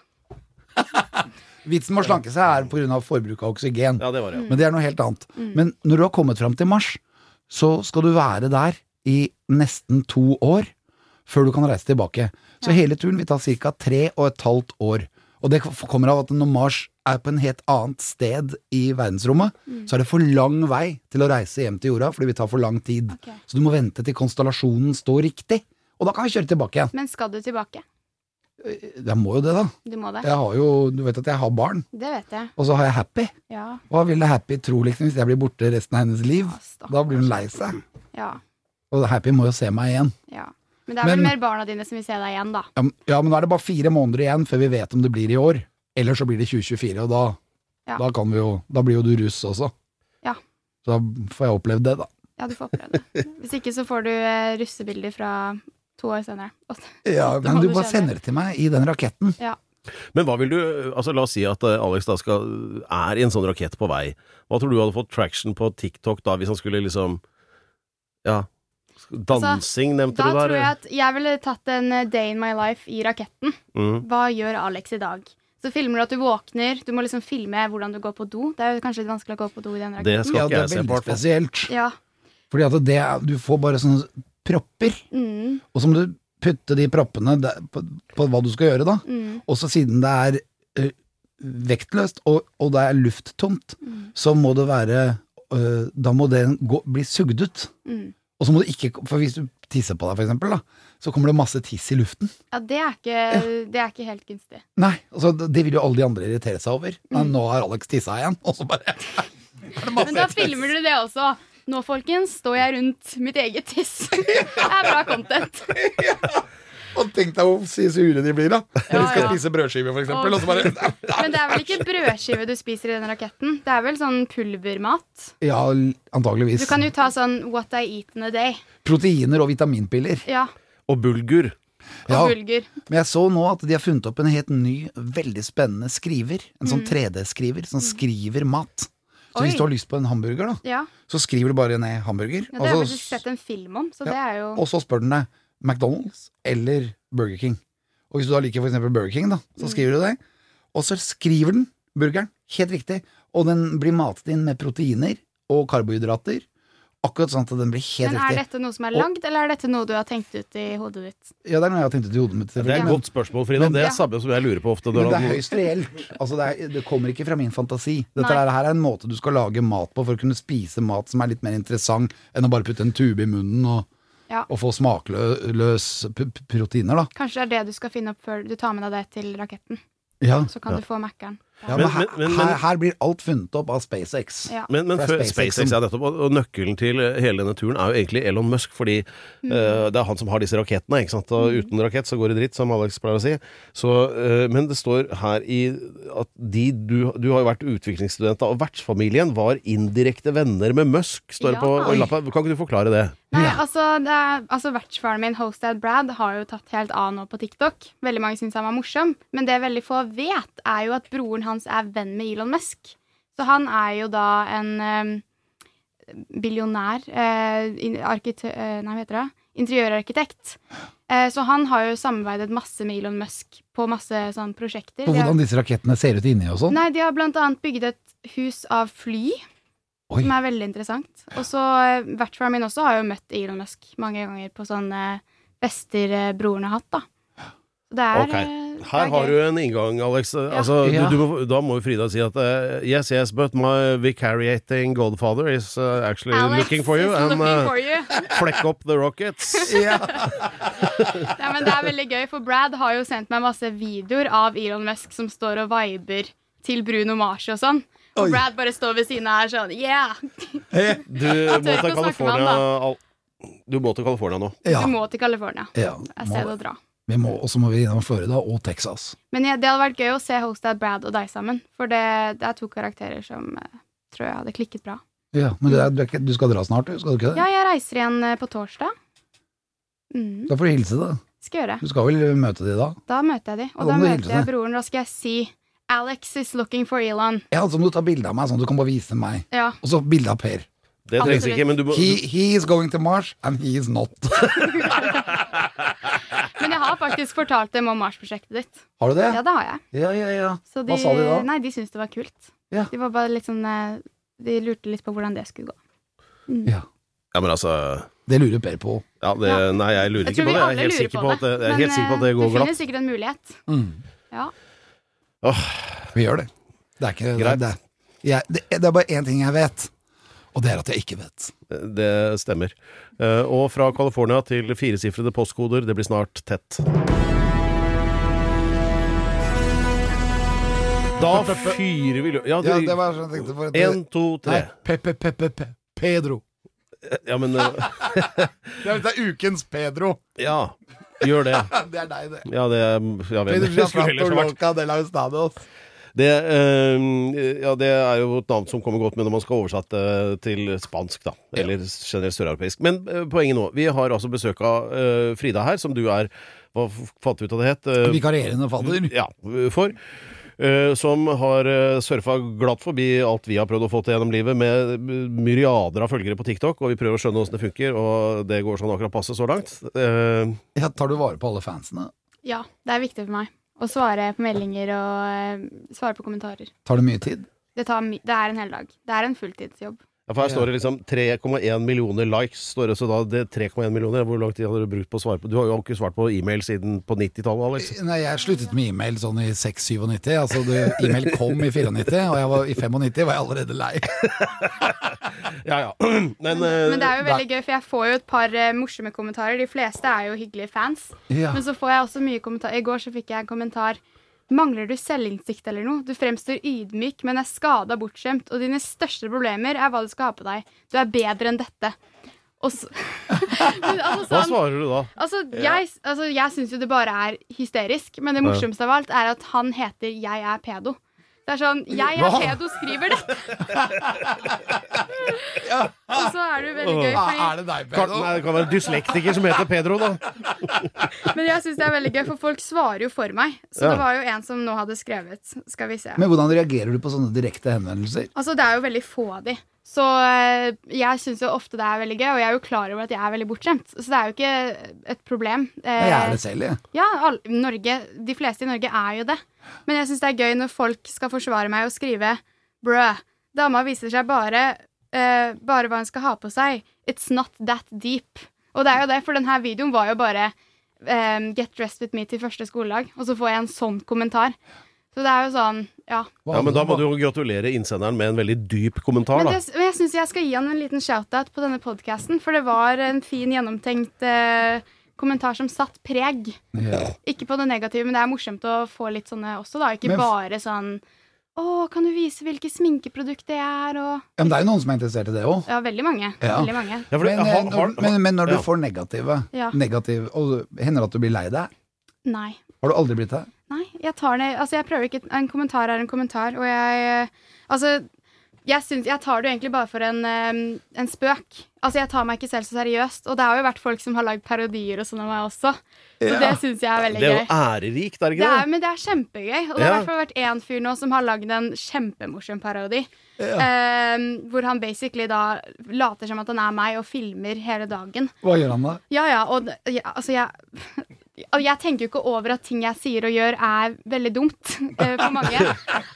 Speaker 3: Vitsen med å slanke seg er pga. forbruk av oksygen.
Speaker 2: Ja, det var det. ja.
Speaker 3: Men det er noe helt annet. Men når du har kommet fram til Mars, så skal du være der i nesten to år før du kan reise tilbake. Så hele turen vil ta ca. tre og et halvt år. Og det kommer av at når Mars er på en helt annet sted i verdensrommet, så er det for lang vei til å reise hjem til jorda, for det vil ta for lang tid.
Speaker 5: Ok.
Speaker 3: Så du må vente til konstellasjonen står riktig, og da kan vi kjøre tilbake igjen. Eh,
Speaker 5: Men skal du tilbake?
Speaker 3: Jeg må jo det, da.
Speaker 5: Du må det.
Speaker 3: Jeg har jo, du vet at jeg har barn,
Speaker 5: Det vet jeg.
Speaker 3: og så har jeg Happy.
Speaker 5: Ja.
Speaker 3: Hva ville Happy tro liksom, hvis jeg blir borte resten av hennes liv?
Speaker 5: stakkars.
Speaker 3: Da blir hun lei seg.
Speaker 5: Ja.
Speaker 3: Og Happy må jo se meg igjen.
Speaker 5: ja. Men det er vel
Speaker 3: Men-
Speaker 5: mer barna dine som vil se deg igjen, da.
Speaker 3: Ja, men- Ja, men da er det bare fire måneder igjen før vi vet om det blir i år. Eller så blir det 2024, og da,
Speaker 5: Ja.
Speaker 3: da, kan vi jo, da blir jo du russ også.
Speaker 5: Ja.
Speaker 3: Så da får jeg opplevd det, da.
Speaker 5: Ja, du får oppleve det. Hvis ikke så får du eh, russebilder fra to år senere. Åtte.
Speaker 3: Ja,
Speaker 5: Da
Speaker 3: men
Speaker 5: må
Speaker 3: du
Speaker 5: du
Speaker 3: bare
Speaker 5: skjønne.
Speaker 3: sender det til meg i den raketten.
Speaker 5: Ja.
Speaker 2: Men hva vil du Altså, la oss si at eh, Alex da skal er i en sånn rakett på vei. Hva tror du hadde fått traction på TikTok da, hvis han skulle liksom Ja. Dansing nevnte
Speaker 5: Da
Speaker 2: du der.
Speaker 5: tror jeg at jeg ville tatt en eh, day in my life i raketten.
Speaker 2: Mhm.
Speaker 5: Hva gjør Alex i dag? Så filmer du at du våkner. Du må liksom filme hvordan du går på do. Det er jo kanskje litt vanskelig å gå på do i den
Speaker 2: Det
Speaker 5: raketten.
Speaker 2: skal
Speaker 3: Ja,
Speaker 2: ikke
Speaker 3: det
Speaker 2: jeg
Speaker 3: er
Speaker 2: se på.
Speaker 3: veldig
Speaker 2: hvertfall.
Speaker 3: spesielt.
Speaker 5: Ja.
Speaker 3: Fordi at det er, du får bare sånne propper,
Speaker 5: Mm,
Speaker 3: og så må du putte de proppene der, på, på hva du skal gjøre da.
Speaker 5: mm.
Speaker 3: Og så siden det er eh, vektløst, og, og det er lufttomt,
Speaker 5: Mm.
Speaker 3: så må det være eh, Da må den gå, bli sugd ut.
Speaker 5: Mm.
Speaker 3: Og så må du ikke For hvis du tisser på deg, for eksempel, da, så kommer det masse tiss i luften.
Speaker 5: Ja, det er ikke, det er ikke helt gunstig.
Speaker 3: Nei, altså, det vil jo alle de andre irritere seg over. Nei,
Speaker 5: Mm.
Speaker 3: nå har Alex tissa igjen, og så bare er det masse
Speaker 5: Men da
Speaker 3: tiss.
Speaker 5: filmer du det også. Nå, folkens, står jeg rundt mitt eget tiss. Det er bra content.
Speaker 3: Og tenk deg hvor si- sure de blir, da. Når de skal
Speaker 5: ja.
Speaker 3: spise brødskive, for eksempel,
Speaker 5: Å,
Speaker 3: og så bare
Speaker 5: Men det er vel ikke brødskive du spiser i den raketten? Det er vel sånn pulvermat?
Speaker 3: Ja,
Speaker 5: Du
Speaker 3: antageligvis.
Speaker 5: kan jo ta sånn what I eat in a day.
Speaker 3: Proteiner og vitaminpiller.
Speaker 5: Ja.
Speaker 2: Og bulgur.
Speaker 5: Og
Speaker 3: Ja.
Speaker 5: bulgur.
Speaker 3: Men jeg så nå at de har funnet opp en helt ny, veldig spennende skriver. En sånn 3D-skriver som skriver mat. Så
Speaker 5: Mm. Oi.
Speaker 3: hvis du har lyst på en hamburger, da,
Speaker 5: Ja.
Speaker 3: så skriver du bare ned hamburger,
Speaker 5: ja, det har jeg
Speaker 3: og, så,
Speaker 5: faktisk sett en film om, så
Speaker 3: Altså, Ja.
Speaker 5: det er jo
Speaker 3: og så spør den deg McDonald's eller Burger King. Og hvis du da liker for eksempel Burger King, da,
Speaker 5: Mm.
Speaker 3: så skriver du det. Og så skriver den burgeren, helt riktig, og den blir matet inn med proteiner og karbohydrater. Akkurat sånn at den blir helt
Speaker 5: Men er
Speaker 3: riktig.
Speaker 5: dette noe som er lagd, eller er dette noe du har tenkt ut i hodet ditt?
Speaker 3: Ja, det er noe jeg har tenkt ut i hodet mitt.
Speaker 2: Det er et
Speaker 3: selvfølgelig, men-
Speaker 2: godt spørsmål, Frida.
Speaker 3: Men-
Speaker 2: Det
Speaker 5: Ja.
Speaker 2: er samme som jeg lurer på ofte.
Speaker 3: Men
Speaker 2: Når
Speaker 3: det er
Speaker 2: han-
Speaker 3: høyst reelt. Altså det, er, det kommer ikke fra min fantasi. Dette
Speaker 5: Nei.
Speaker 3: er, her er en måte du skal lage mat på for å kunne spise mat som er litt mer interessant enn å bare putte en tube i munnen og,
Speaker 5: Ja.
Speaker 3: og få smakløs p p proteiner, da.
Speaker 5: Kanskje det er det du skal finne opp før du tar med deg det til raketten.
Speaker 3: Ja.
Speaker 5: Så kan du få Mac-en.
Speaker 3: Ja, men,
Speaker 2: Men-
Speaker 3: her,
Speaker 2: men- men-
Speaker 3: her, her blir alt funnet opp av SpaceX.
Speaker 5: Ja.
Speaker 2: Men, men
Speaker 3: For det er
Speaker 2: før,
Speaker 3: SpaceX
Speaker 2: SpaceX,
Speaker 3: som-
Speaker 2: ja, nettopp, og og nøkkelen til eh, hele denne turen er jo egentlig Elon Musk, fordi
Speaker 5: Mm.
Speaker 2: eh, det er han som har disse rakettene, ikke sant? og uten rakett så går det dritt, som Alex pleier å si. Så, eh, men det står her i at de, du, du har jo vært utviklingsstudent, da, og vertsfamilien var indirekte venner med Musk, står det
Speaker 5: Ja.
Speaker 2: på og lappen. Kan ikke du forklare det?
Speaker 5: Nei, altså, det er, altså Vertsfaren min, Hostad Brad, har jo tatt helt av nå på TikTok. Veldig mange syns han var morsom, men det veldig få vet, er jo at broren hans er venn med Elon Musk. Så han er jo da en eh, billionær eh, in- arkite- eh, Nei, hva heter det? Interiørarkitekt. Eh, så han har jo samarbeidet masse med Elon Musk på masse sånn prosjekter.
Speaker 3: På
Speaker 5: De har-
Speaker 3: hvordan disse rakettene ser ut inni og sånn.
Speaker 5: Nei, de har blant annet bygget et hus av fly,
Speaker 3: Oi.
Speaker 5: som er veldig interessant. Og så eh, vertsfaren min også har jo møtt Elon Musk mange ganger på sånne fester eh, broren har hatt, da. Så det er
Speaker 2: Ok.
Speaker 5: eh, det
Speaker 2: Her
Speaker 5: er
Speaker 2: har
Speaker 5: gøy.
Speaker 2: du en inngang, Alex. Altså,
Speaker 3: Ja.
Speaker 2: du, du må, da må jo Frida si at eh, Yes, yes, but my vicariating godfather is eh, actually
Speaker 5: Alex
Speaker 2: looking for you.
Speaker 5: is
Speaker 2: And,
Speaker 5: looking
Speaker 2: eh,
Speaker 5: for you.
Speaker 2: Fleck up the rockets.
Speaker 5: Nei, men det er veldig gøy, for Brad har jo sendt meg masse videoer av Elon Musk som står og viber til Bruno Mars og sånn. Og
Speaker 3: Oi.
Speaker 5: Brad bare står ved siden av her sånn Yeah!
Speaker 2: Du må
Speaker 5: tør
Speaker 2: til
Speaker 5: ikke å snakke med han,
Speaker 2: California al- Du må til California nå.
Speaker 3: Ja,
Speaker 5: Du må til California.
Speaker 3: ja,
Speaker 5: Det er
Speaker 3: må,
Speaker 5: stedet å dra.
Speaker 3: vi må, og så må vi innom Florida og Texas.
Speaker 5: Men ja, det hadde vært gøy å se Hostad Brad og deg sammen. For det, det er to karakterer som eh, tror jeg hadde klikket bra.
Speaker 3: Ja, men du, er, du, er ikke, du skal dra snart, du? Skal du ikke det?
Speaker 5: Ja, jeg reiser igjen eh, på torsdag. Mm,
Speaker 3: Da får du hilse, da.
Speaker 5: skal gjøre.
Speaker 3: Du skal vel møte de da?
Speaker 5: Da møter jeg de.
Speaker 3: Ja,
Speaker 5: Og da
Speaker 3: men det er
Speaker 5: møter jeg
Speaker 3: hyggelig.
Speaker 5: broren. Da skal jeg si Alex is looking for Elon.
Speaker 3: Ja, så må du ta bilde av meg, sånn at du kan bare vise meg.
Speaker 5: Ja.
Speaker 3: Og så bilde av Per.
Speaker 2: Det trengs
Speaker 5: Absolutt.
Speaker 2: ikke, men du må
Speaker 3: He, he is going to Mars, and he is not.
Speaker 5: Men jeg har faktisk fortalt dem om Mars-prosjektet ditt.
Speaker 3: Har du det?
Speaker 5: Ja, det har jeg.
Speaker 3: Ja, ja, ja.
Speaker 5: Så
Speaker 3: Hva sa de da?
Speaker 5: Nei, de syntes det var kult.
Speaker 3: Ja.
Speaker 5: De var bare litt sånn eh, De lurte litt på hvordan det skulle gå.
Speaker 3: ja.
Speaker 2: Ja, men altså
Speaker 3: Det lurer Per på.
Speaker 2: ja, det,
Speaker 5: Ja.
Speaker 2: Nei, jeg lurer
Speaker 5: Jeg
Speaker 2: ikke på det. Jeg
Speaker 5: tror vi
Speaker 2: er
Speaker 5: alle
Speaker 2: helt
Speaker 5: lurer
Speaker 2: sikker på,
Speaker 5: på
Speaker 2: at det, jeg er
Speaker 5: men,
Speaker 2: helt sikker på at
Speaker 5: eh,
Speaker 2: det går
Speaker 5: Det
Speaker 2: glatt.
Speaker 5: finnes sikkert en mulighet.
Speaker 3: Mm.
Speaker 5: Ja.
Speaker 3: Vi gjør det. Det er ikke
Speaker 2: Greit.
Speaker 3: Det, jeg, det, det er bare én ting jeg vet, og det er at jeg ikke vet.
Speaker 2: Det stemmer. Eh, Og fra California til firesifrede postkoder, det blir snart tett. Da fyrer vi løs Ja,
Speaker 3: Ja, det
Speaker 2: du
Speaker 3: var sånn jeg tenkte for at
Speaker 2: Én, to,
Speaker 3: Nei,
Speaker 2: tre.
Speaker 3: Pepe, Pepe, Pe- Pedro.
Speaker 2: Ja, men eh,
Speaker 3: Det er, det er ukens Pedro.
Speaker 2: Ja. Gjør det.
Speaker 3: Det er deg, det.
Speaker 2: Ja, det Ja vel.
Speaker 3: Pedro
Speaker 2: Det skulle ellers
Speaker 3: Gianfranco
Speaker 2: ha vært
Speaker 3: Loca de la Estados.
Speaker 2: Det, eh, ja, det er jo et navn som kommer godt med når man skal oversette eh, til spansk, da. Eller generelt søreuropeisk. Men eh, poenget nå. Vi har altså besøk av eh, Frida her, som du er Hva f- fant vi ut av det het? Eh,
Speaker 3: Vikarierende fadder.
Speaker 2: ja, for. eh, som har eh, surfa glatt forbi alt vi har prøvd å få til gjennom livet, med eh, myriader av følgere på TikTok, og vi prøver å skjønne åssen det funker, og det går sånn akkurat passe så langt. Eh,
Speaker 3: Ja, tar du vare på alle fansene?
Speaker 5: Ja, det er viktig for meg å svare på meldinger og eh, svare på kommentarer.
Speaker 3: Tar det mye tid?
Speaker 5: Det, tar my det er en hel dag. Det er en fulltidsjobb.
Speaker 2: Ja, for her står det liksom 3,1 millioner likes. Står det, så da det 3,1 millioner, Hvor lang tid hadde du brukt på å svare på? Du har jo ikke svart på e-mail siden på 90-tallet, Alex.
Speaker 3: Nei, jeg sluttet med e-mail sånn i 6-97. Altså, det- e-mail kom i 94, og jeg var, i 95 var jeg allerede lei.
Speaker 2: Ja, ja. Men, eh,
Speaker 5: Men det er jo veldig gøy, for jeg får jo et par eh, morsomme kommentarer. De fleste er jo hyggelige fans.
Speaker 3: Ja.
Speaker 5: Men så får jeg også mye kommentarer. I går så fikk jeg en kommentar. Mangler du selvinnsikt eller noe? Du fremstår ydmyk, men er skada bortskjemt, og dine største problemer er hva du skal ha på deg. Du er bedre enn dette. Og så, men altså,
Speaker 2: hva
Speaker 5: sånn,
Speaker 2: svarer du da?
Speaker 5: altså, jeg, altså, jeg syns jo det bare er hysterisk, men det morsomste av alt er at han heter 'Jeg er pedo'. Det er sånn 'Jeg er
Speaker 3: Hva?
Speaker 5: pedo' skriver dette. Og så er det jo veldig gøy. fordi-
Speaker 3: Er det deg,
Speaker 2: Kan, nei,
Speaker 3: Pedro?
Speaker 2: det kan være dyslektiker som heter Pedro, da.
Speaker 5: Men jeg syns det er veldig gøy, for folk svarer jo for meg. Så
Speaker 2: Ja.
Speaker 5: det var jo en som nå hadde skrevet. Skal vi se.
Speaker 3: Men hvordan reagerer du på sånne direkte henvendelser?
Speaker 5: altså, det er jo veldig få av de. Så eh, jeg syns jo ofte det er veldig gøy, og jeg er jo klar over at jeg er veldig bortskjemt. Så det er jo ikke et problem. Eh,
Speaker 3: Jeg er det selv, jeg.
Speaker 5: ja, all, Norge, de fleste i Norge er jo det. Men jeg syns det er gøy når folk skal forsvare meg og skrive 'brød'. Dama viser seg bare, eh, bare hva hun skal ha på seg. It's not that deep. Og det er jo det, for denne videoen var jo bare eh, 'get dressed with me' til første skoledag. Og så får jeg en sånn kommentar. Så det er jo sånn, ja.
Speaker 3: Hva
Speaker 2: Ja, men da må
Speaker 3: hadde-
Speaker 2: du jo gratulere innsenderen med en veldig dyp kommentar,
Speaker 5: Men
Speaker 2: da.
Speaker 5: det, men jeg syns jeg skal gi han en liten shout-out på denne podkasten, for det var en fin, gjennomtenkt eh, kommentar som satt preg.
Speaker 3: Ja.
Speaker 5: Ikke på det negative, men det er morsomt å få litt sånne også, da. Ikke
Speaker 3: Men-
Speaker 5: bare sånn Å, kan du vise hvilke sminkeprodukter jeg er, og
Speaker 3: Ja, men det er jo noen som er interessert i det òg.
Speaker 5: Ja, veldig mange.
Speaker 3: Ja.
Speaker 5: Veldig mange.
Speaker 2: Ja, for det-
Speaker 3: Men, eh,
Speaker 2: har- har-
Speaker 3: når- men, men når du
Speaker 2: ja.
Speaker 3: får negative,
Speaker 5: Ja.
Speaker 3: negativ Og det hender at du blir lei deg?
Speaker 5: Nei.
Speaker 3: Har du aldri blitt det?
Speaker 5: Nei, jeg tar det Altså, jeg prøver ikke En kommentar er en kommentar, og jeg eh, Altså, jeg syns Jeg tar det jo egentlig bare for en, eh, en spøk. Altså, jeg tar meg ikke selv så seriøst, og det har jo vært folk som har lagd parodier og sånn av meg også, så det syns jeg er veldig
Speaker 2: Det er
Speaker 5: gøy.
Speaker 2: jo ærerikt, er det
Speaker 5: Det
Speaker 2: ikke
Speaker 5: er,
Speaker 2: det?
Speaker 5: men det er kjempegøy. Og det har i
Speaker 2: Ja.
Speaker 5: hvert fall vært én fyr nå som har lagd en kjempemorsom parodi. Eh, hvor han basically da later som at han er meg og filmer hele dagen.
Speaker 3: Hva gjør han da?
Speaker 5: Ja, ja, og det- ja, altså jeg og jeg tenker jo ikke over at ting jeg sier og gjør, er veldig dumt eh, for mange.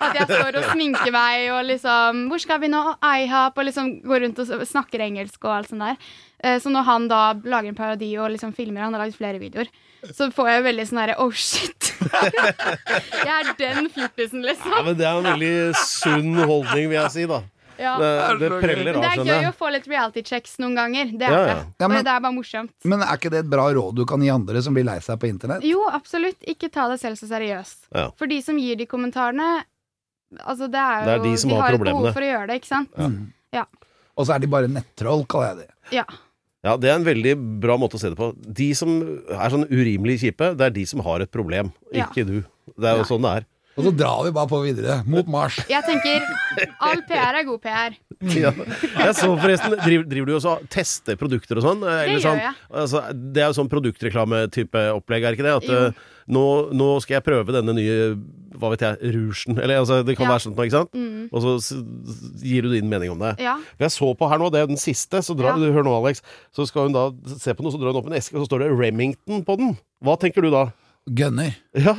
Speaker 5: At jeg står og sminker meg og liksom 'Hvor skal vi nå? IHOP?' og liksom går rundt og s- snakker engelsk og alt sånt der. Eh, Så når han da lager en parodi og liksom filmer, han har lagd flere videoer, så får jeg veldig sånn herre 'Oh, shit'. jeg er den fjortisen,
Speaker 2: Ja,
Speaker 5: liksom.
Speaker 2: men det er en veldig sunn holdning, vil jeg si, da.
Speaker 5: Ja.
Speaker 2: Det, det preller av,
Speaker 5: Men det er gøy
Speaker 2: skjønner
Speaker 5: å
Speaker 2: jeg.
Speaker 5: få litt reality checks noen ganger. Det er
Speaker 2: Ja, ja.
Speaker 5: det.
Speaker 3: Ja, men-
Speaker 5: Og det er bare morsomt.
Speaker 3: Men er ikke det et bra råd du kan gi andre som blir lei seg på internett?
Speaker 5: Jo, absolutt. Ikke ta deg selv så seriøst.
Speaker 2: Ja.
Speaker 5: For de som gir de kommentarene Altså, det er jo
Speaker 2: Det er de som har
Speaker 5: har et
Speaker 2: problemene.
Speaker 5: behov for å gjøre det, ikke sant?
Speaker 3: Mm.
Speaker 5: Ja.
Speaker 3: Og så er de bare nettroll, kaller jeg det.
Speaker 5: Ja.
Speaker 2: Ja, det er en veldig bra måte å se det på. De som er sånn urimelig kjipe, det er de som har et problem,
Speaker 5: Ja.
Speaker 2: ikke du. Det er jo sånn det er.
Speaker 3: Og så drar vi bare på videre, mot Mars.
Speaker 5: Jeg tenker all PR er god PR.
Speaker 2: Ja. Jeg så forresten, driver, driver du også og tester produkter og sånn? eh, eller
Speaker 5: Det gjør
Speaker 2: sånn,
Speaker 5: jeg.
Speaker 2: Altså, det er jo sånn produktreklametype opplegg, er ikke det? At
Speaker 5: Jo.
Speaker 2: eh, nå, nå skal jeg prøve denne nye, hva vet jeg, rougen. Eller altså, det kan
Speaker 5: Ja. Mm.
Speaker 2: være sånt noe, ikke sant? Og så s- gir du din mening om det.
Speaker 5: Ja.
Speaker 2: For Jeg så på her nå, det er den siste, så drar,
Speaker 5: Ja.
Speaker 2: du hør nå Alex, så skal hun da se på noe, så drar hun opp en eske, og så står det Remington på den. Hva tenker du da?
Speaker 3: Gønner.
Speaker 2: Ja.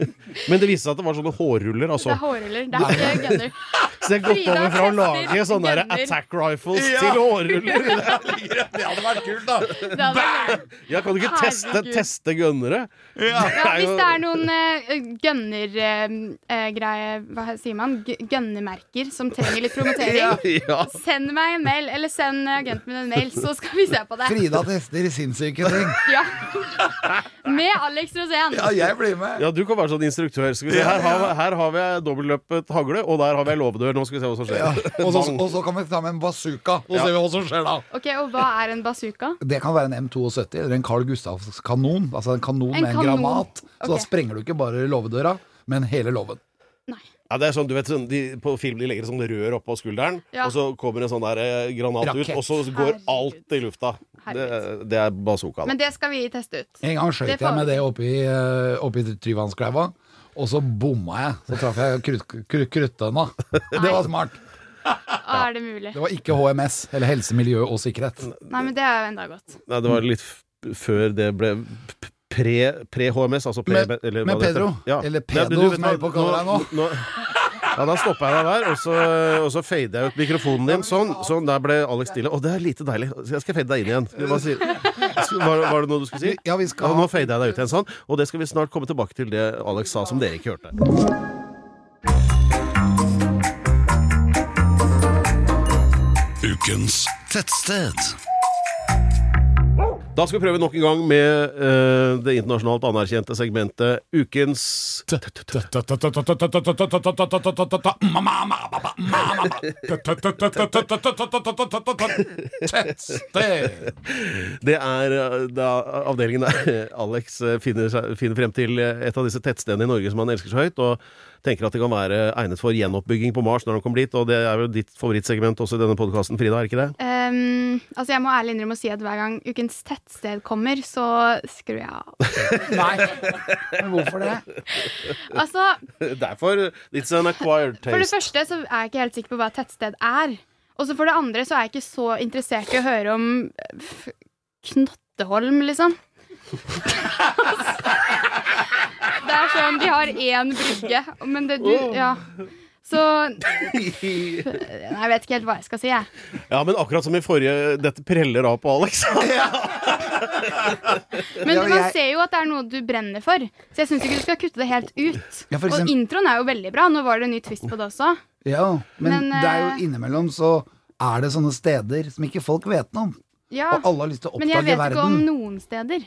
Speaker 2: Men det viste seg at det var sånne hårruller,
Speaker 5: Det
Speaker 2: altså.
Speaker 5: er hårruller. Det er ikke gunner.
Speaker 2: Så jeg har gått
Speaker 5: Frida
Speaker 2: over fra å
Speaker 5: tester
Speaker 2: lage sånne der
Speaker 5: gunner.
Speaker 2: attack rifles til hårruller.
Speaker 3: Det hadde vært kult, da.
Speaker 5: Det hadde vært-
Speaker 2: Ja, kan du ikke teste,
Speaker 5: Herregud.
Speaker 2: teste gønnere?
Speaker 5: Ja, hvis det er noen eh, gunner-greie eh, Hva sier man? G- Gunnermerker som trenger litt promotering,
Speaker 2: Ja.
Speaker 5: send meg en mail, eller send eh, agenten min en mail, så skal vi se på det.
Speaker 3: Frida tester sinnssyke ting.
Speaker 5: Ja. Med Alex Rosén.
Speaker 3: Ja, jeg blir med.
Speaker 2: ja, du kan være sånn instruktør. Skal vi se. Her, har, her har vi dobbeltløpet hagle, og der har vi ei låvedør. Nå skal vi se hva som
Speaker 3: Ja.
Speaker 2: skjer.
Speaker 3: Og, så, og så kan vi ta med en bazooka, og se hva som skjer da.
Speaker 5: Ok, Og hva er en bazooka?
Speaker 3: Det kan være en M72 eller en Carl Gustavs kanon. Altså en kanon
Speaker 5: En
Speaker 3: med en
Speaker 5: kanon.
Speaker 3: granat. Så da
Speaker 5: Ok.
Speaker 3: sprenger du ikke bare låvedøra, men hele låven.
Speaker 5: Nei.
Speaker 2: Ja, det er sånn, du vet, sånn, de, På film de legger et sånt rør oppå skulderen,
Speaker 5: Ja.
Speaker 2: og så kommer en sånn der eh, granat ut,
Speaker 3: Rakett.
Speaker 2: og så går
Speaker 5: Herregud.
Speaker 2: alt i lufta. Det, det er bazooka. Da.
Speaker 5: Men det skal vi teste ut.
Speaker 3: En gang skjøt
Speaker 5: Det
Speaker 3: jeg med
Speaker 5: faller.
Speaker 3: det oppi, eh, oppi Tryvannskleiva. og så bomma jeg. Så traff jeg krutt, krutt, kruttønna. Det var smart.
Speaker 5: Å, er det mulig?
Speaker 3: Det var ikke HMS, eller helse, miljø og sikkerhet.
Speaker 5: Nei, men det er jo enda godt.
Speaker 2: Nei, det var litt f før det ble p- pre- pre-HMS, altså pre...
Speaker 3: Men-
Speaker 2: eller hva
Speaker 3: men
Speaker 2: det heter.
Speaker 3: Pedro, eller Pedo,
Speaker 2: men du vet
Speaker 3: som
Speaker 2: hva,
Speaker 3: jeg holder på å kalle deg
Speaker 2: Ja, Da stoppa jeg deg der, og så, og så fader jeg ut mikrofonen din. Sånn, sånn der ble Alex stille. Å, det er lite deilig. Jeg skal fade deg inn igjen. Skal vi bare si- Var, var det noe du skulle si?
Speaker 3: Ja, vi skal
Speaker 2: nå fader jeg deg ut igjen, sånn. Og det skal vi snart komme tilbake til, det Alex sa som dere ikke hørte.
Speaker 1: Ukens tettsted.
Speaker 2: Da skal vi prøve nok en gang med eh, det internasjonalt anerkjente segmentet Ukens
Speaker 3: Tettsted.
Speaker 2: Det er eh, da avdelingen der Alex eh, finner, seg, finner frem til eh, et av disse tettstedene i Norge som han elsker så høyt, og tenker at det kan være egnet for gjenoppbygging på Mars når han kommer dit. Og det er jo ditt favorittsegment også i denne podkasten, Frida, er ikke det?
Speaker 5: Ehm, altså Jeg må ærlig innrømme å si at hver gang ukens tettsted kommer, så skrur jeg av.
Speaker 3: Nei, men hvorfor det?
Speaker 5: Altså,
Speaker 2: Derfor It's an acquired
Speaker 5: For det
Speaker 2: taste.
Speaker 5: første så er jeg ikke helt sikker på hva et tettsted er. Og så for det andre så er jeg ikke så interessert i å høre om eh, f- Knotteholm, liksom. det er sånn De har én brygge, men det du Ja. Så Nei, jeg vet ikke helt hva jeg skal si, jeg.
Speaker 2: Ja, men akkurat som i forrige Dette preller av på Alex.
Speaker 5: Men
Speaker 3: Ja, men
Speaker 5: man
Speaker 3: jeg-
Speaker 5: ser jo at det er noe du brenner for, så jeg syns ikke du skal kutte det helt ut.
Speaker 3: Ja, for
Speaker 5: Og
Speaker 3: eksempel-
Speaker 5: introen er jo veldig bra. Nå var det en ny twist på det også.
Speaker 3: Ja, men,
Speaker 5: Men, eh,
Speaker 3: det er jo innimellom så er det sånne steder som ikke folk vet noe om.
Speaker 5: Ja,
Speaker 3: Og alle har lyst til å
Speaker 5: Men jeg
Speaker 3: oppdage
Speaker 5: vet ikke om
Speaker 3: verden.
Speaker 5: noen steder.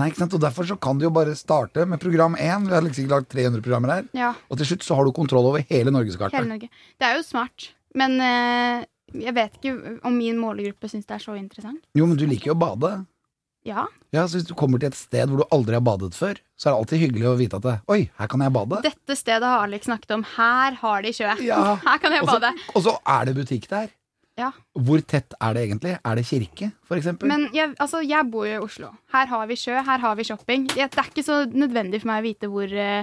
Speaker 3: Nei, ikke sant? Og derfor så kan du jo bare starte med program 1. Vi har liksom ikke lagd 300 programmer her.
Speaker 5: Ja,
Speaker 3: Og til slutt så har du kontroll over hele
Speaker 5: hele
Speaker 3: norgeskartet.
Speaker 5: Norge. Det er jo smart, men eh, jeg vet ikke om min målegruppe syns det er så interessant.
Speaker 3: Jo, men du liker jo å bade.
Speaker 5: Ja,
Speaker 3: Ja, så Hvis du kommer til et sted hvor du aldri har badet før, så er det alltid hyggelig å vite at det, Oi, her kan jeg bade.
Speaker 5: dette stedet har Alex snakket om. Her har de sjø.
Speaker 3: Ja.
Speaker 5: Her kan jeg
Speaker 3: Og så-
Speaker 5: bade.
Speaker 3: Og så er det butikk der.
Speaker 5: Ja.
Speaker 3: Hvor tett er det egentlig? Er det kirke, for eksempel?
Speaker 5: Men jeg, altså, jeg bor jo i Oslo. Her har vi sjø, her har vi shopping. Jeg, det er ikke så nødvendig for meg å vite hvor eh,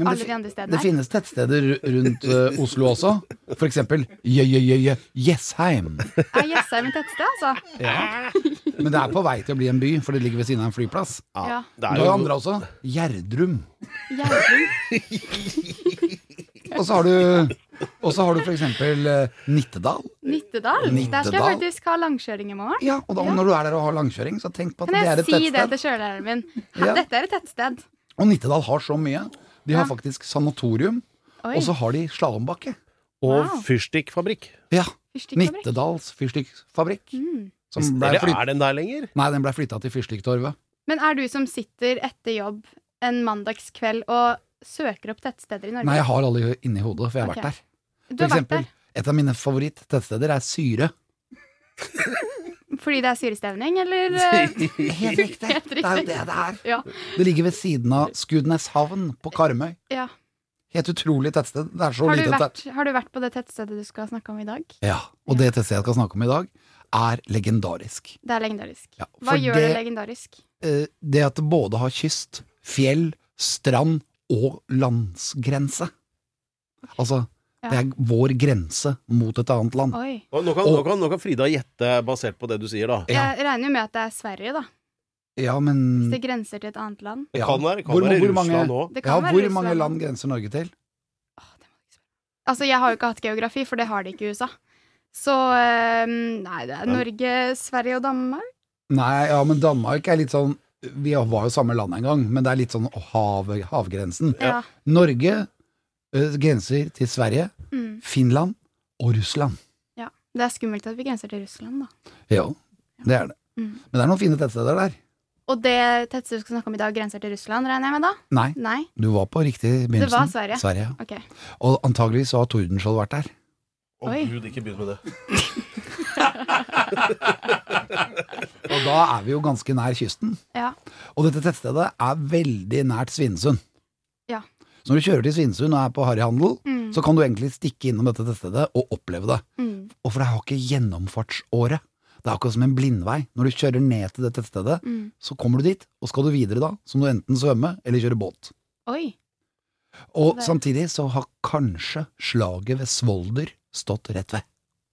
Speaker 3: Ja, men
Speaker 5: alle
Speaker 3: det,
Speaker 5: de
Speaker 3: fi-
Speaker 5: andre stedene
Speaker 3: det
Speaker 5: er.
Speaker 3: finnes tettsteder ru- rundt eh, Oslo også. For eksempel Jø- Jø- Jø- Jø- Jessheim.
Speaker 5: Er Jessheim et tettsted, altså?
Speaker 3: Men det er på vei til å bli en by, for det ligger ved siden av en flyplass.
Speaker 5: Ja.
Speaker 2: Det
Speaker 3: Du
Speaker 2: er
Speaker 3: har jo
Speaker 2: jo
Speaker 3: andre også. Gjerdrum.
Speaker 5: Gjerdrum.
Speaker 3: Og så har du, og så har du for eksempel eh, Nittedal.
Speaker 5: Nittedal. Der skal jeg
Speaker 3: Nittedal.
Speaker 5: faktisk ha langkjøring i morgen.
Speaker 3: Ja, og da,
Speaker 5: Ja.
Speaker 3: når du er der og har langkjøring, så tenk på at
Speaker 5: Kan
Speaker 3: det er
Speaker 5: jeg
Speaker 3: et
Speaker 5: si det
Speaker 3: tettsted.
Speaker 5: til kjølelæreren min?
Speaker 3: Ja.
Speaker 5: Dette er et tettsted.
Speaker 3: Og Nittedal har så mye. De har
Speaker 5: Ja.
Speaker 3: faktisk sanatorium,
Speaker 5: Oi.
Speaker 3: og så har de slalåmbakke.
Speaker 2: Og
Speaker 5: Wow.
Speaker 2: fyrstikkfabrikk.
Speaker 3: Ja,
Speaker 5: fyrstikkfabrikk.
Speaker 3: Nittedals fyrstikkfabrikk.
Speaker 5: Mm.
Speaker 3: Som ble
Speaker 2: Eller
Speaker 3: flytt...
Speaker 2: er den der lenger?
Speaker 3: Nei, den ble flytta til Fyrstikktorvet.
Speaker 5: Men er du som sitter etter jobb en mandagskveld og søker opp tettsteder i Norge?
Speaker 3: Nei, jeg har alle inni hodet, for jeg har
Speaker 5: Ok.
Speaker 3: vært der.
Speaker 5: du
Speaker 3: For
Speaker 5: har vært
Speaker 3: eksempel,
Speaker 5: der
Speaker 3: et av mine favoritt-tettsteder er Syre.
Speaker 5: fordi det er syrestevning, eller eh,
Speaker 3: Helt riktig!
Speaker 5: Helt
Speaker 3: Det er jo det
Speaker 5: riktig.
Speaker 3: det er.
Speaker 5: Ja.
Speaker 3: Det ligger ved siden av Skudeneshavn på Karmøy.
Speaker 5: ja.
Speaker 3: Helt utrolig tettsted. Det er så
Speaker 5: har, du
Speaker 3: lite tett.
Speaker 5: vært, har du vært på det tettstedet du skal snakke om i dag?
Speaker 3: Ja, og det tettstedet jeg skal snakke om i dag, er legendarisk.
Speaker 5: Det er legendarisk.
Speaker 3: Ja,
Speaker 5: Hva
Speaker 3: for
Speaker 5: gjør det,
Speaker 3: det-
Speaker 5: legendarisk?
Speaker 3: Eh, Det at det både har kyst, fjell, strand og landsgrense. Altså, det er vår grense mot et annet land.
Speaker 5: Oi.
Speaker 2: Og Nå kan,
Speaker 3: Og-
Speaker 2: nå, kan, nå kan Frida gjette basert på det du sier, da.
Speaker 3: Ja.
Speaker 5: Jeg regner jo med at det er Sverige, da.
Speaker 3: Ja,
Speaker 5: Hvis
Speaker 3: men
Speaker 5: det grenser til et annet land.
Speaker 2: Det
Speaker 3: ja.
Speaker 2: kan være, kan
Speaker 3: Hvor-
Speaker 2: være
Speaker 3: hvor mange-
Speaker 2: Russland òg.
Speaker 5: Det
Speaker 3: Ja,
Speaker 5: kan være
Speaker 3: hvor
Speaker 5: Russland.
Speaker 3: mange land grenser Norge til?
Speaker 5: Åh, det må jeg ikke spørre. Altså, jeg har jo ikke hatt geografi, for det har de ikke i USA. Så eh, Nei, det er Norge, Sverige og Danmark.
Speaker 3: Nei, ja, men Danmark er litt sånn Vi var jo samme land en gang, men det er litt sånn hav, havgrensen.
Speaker 5: Ja.
Speaker 3: Norge eh, grenser til Sverige,
Speaker 5: Mm.
Speaker 3: Finland og Russland.
Speaker 5: Det er skummelt at vi grenser til Russland, da.
Speaker 3: Ja, det er det.
Speaker 5: Mm.
Speaker 3: Men det er noen fine tettsteder der.
Speaker 5: Og det tettstedet du skal snakke om i dag, grenser til Russland, regner jeg med da?
Speaker 3: Nei,
Speaker 5: Nei?
Speaker 3: du var på riktig begynnelsen.
Speaker 5: Det var Sverige.
Speaker 3: Sverige. ja.
Speaker 5: Ok.
Speaker 3: Og antageligvis så har Tordenskjold vært der.
Speaker 2: Å
Speaker 5: Oi.
Speaker 2: gud, ikke begynn med det.
Speaker 3: Og da er vi jo ganske nær kysten.
Speaker 5: Ja.
Speaker 3: Og dette tettstedet er veldig nært Svinesund.
Speaker 5: Ja.
Speaker 3: Så når du kjører til Svinesund og er på harryhandel,
Speaker 5: Mm.
Speaker 3: så kan du egentlig stikke innom dette tettstedet og oppleve det.
Speaker 5: Mm.
Speaker 3: Og for det har ikke gjennomfartsåret. Det er akkurat som en blindvei. Når du kjører ned til det tettstedet,
Speaker 5: Mm.
Speaker 3: så kommer du dit, og skal du videre da, så må du enten svømme eller kjøre båt.
Speaker 5: Oi.
Speaker 3: Og samtidig så har kanskje slaget ved Svolder stått rett ved.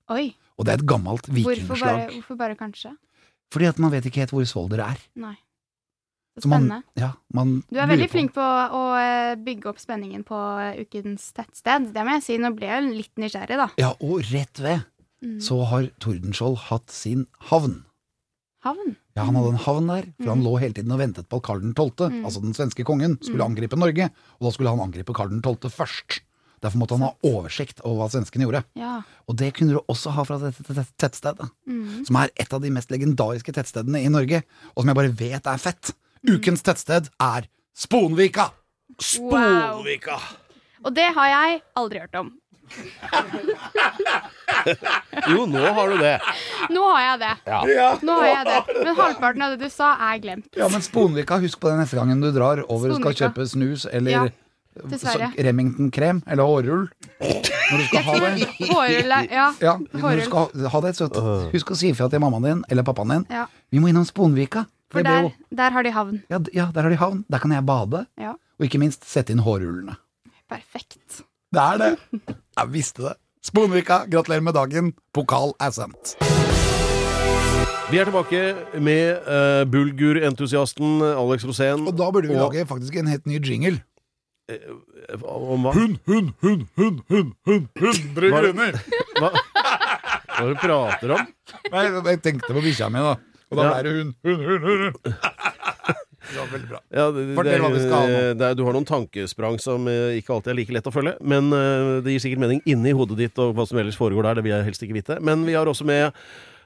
Speaker 5: Oi.
Speaker 3: Og det er et gammelt
Speaker 5: Hvorfor bare,
Speaker 3: vikingslag.
Speaker 5: hvorfor bare kanskje?
Speaker 3: Fordi at man vet ikke helt hvor Svolder er.
Speaker 5: Nei.
Speaker 3: Så
Speaker 5: Så
Speaker 3: man,
Speaker 5: spennende.
Speaker 3: ja, man
Speaker 5: Du er
Speaker 3: lurer
Speaker 5: veldig
Speaker 3: på-
Speaker 5: flink på å eh, bygge opp spenningen på eh, ukens tettsted. Det må jeg si. Nå ble jeg jo litt nysgjerrig, da.
Speaker 3: Ja, og rett ved
Speaker 5: Mm.
Speaker 3: så har Tordenskjold hatt sin havn.
Speaker 5: Havn.
Speaker 3: Ja, Han hadde en havn der, for han lå hele tiden og ventet på at Karl 12.,
Speaker 5: Mm.
Speaker 3: altså den svenske kongen, skulle angripe Norge. Og da skulle han angripe Karl 12. først. Derfor måtte han ha oversikt over hva svenskene gjorde.
Speaker 5: Ja.
Speaker 3: Og det kunne du også ha fra dette tett- tettstedet,
Speaker 5: Mm.
Speaker 3: som er et av de mest legendariske tettstedene i Norge, og som jeg bare vet er fett. Ukens tettsted er Sponvika!
Speaker 5: Wow.
Speaker 2: Sponvika!
Speaker 5: Og det har jeg aldri hørt om.
Speaker 2: Jo, nå har du det.
Speaker 5: Nå har jeg det. Nå har jeg det. Men halvparten av det du sa, er glemt.
Speaker 3: Ja, men Sponvika, husk på det neste gangen du drar over og skal
Speaker 5: Sponvika.
Speaker 3: kjøpe snus eller
Speaker 5: Ja,
Speaker 3: eh,
Speaker 5: dessverre.
Speaker 3: så- Remington-krem eller hårrull. Når du skal ha det.
Speaker 5: Hårrull er Ja.
Speaker 3: Ja, når du
Speaker 5: Hårrull.
Speaker 3: skal ha- ha det, så husk å si ifra til mammaen din eller pappaen din.
Speaker 5: Ja.
Speaker 3: Vi må innom Sponvika.
Speaker 5: For
Speaker 3: det blir
Speaker 5: der,
Speaker 3: jo-
Speaker 5: der har de havn.
Speaker 3: ja, d- ja, der har de havn. Der kan jeg bade.
Speaker 5: Ja.
Speaker 3: Og ikke minst sette inn hårrullene.
Speaker 5: Perfekt.
Speaker 3: Det er det. Jeg visste det. Sponvika, gratulerer med dagen. Pokal er sendt.
Speaker 2: Vi er tilbake med eh, bulgurentusiasten eh, Alex Rosén.
Speaker 3: Og da burde vi
Speaker 2: Og- eh,
Speaker 3: lage faktisk en helt ny jingle.
Speaker 2: Om hva?
Speaker 3: Hund, hund, hund, hund, hund, hund. 100
Speaker 2: Hva-
Speaker 3: kroner!
Speaker 2: Hva, hva er det du prater om?
Speaker 3: Nei, jeg tenkte på bikkja mi, da. Og da
Speaker 2: Ja.
Speaker 3: ble det hund, hund, hund, hund. Det var veldig bra.
Speaker 2: Ja, det, det,
Speaker 3: Fortell hva vi skal ha
Speaker 2: er-
Speaker 3: nå.
Speaker 2: det er- du har noen tankesprang som eh, ikke alltid er like lett å følge. Men eh, det gir sikkert mening inni hodet ditt og hva som ellers foregår der. Det vil jeg helst ikke vite. Men vi har også med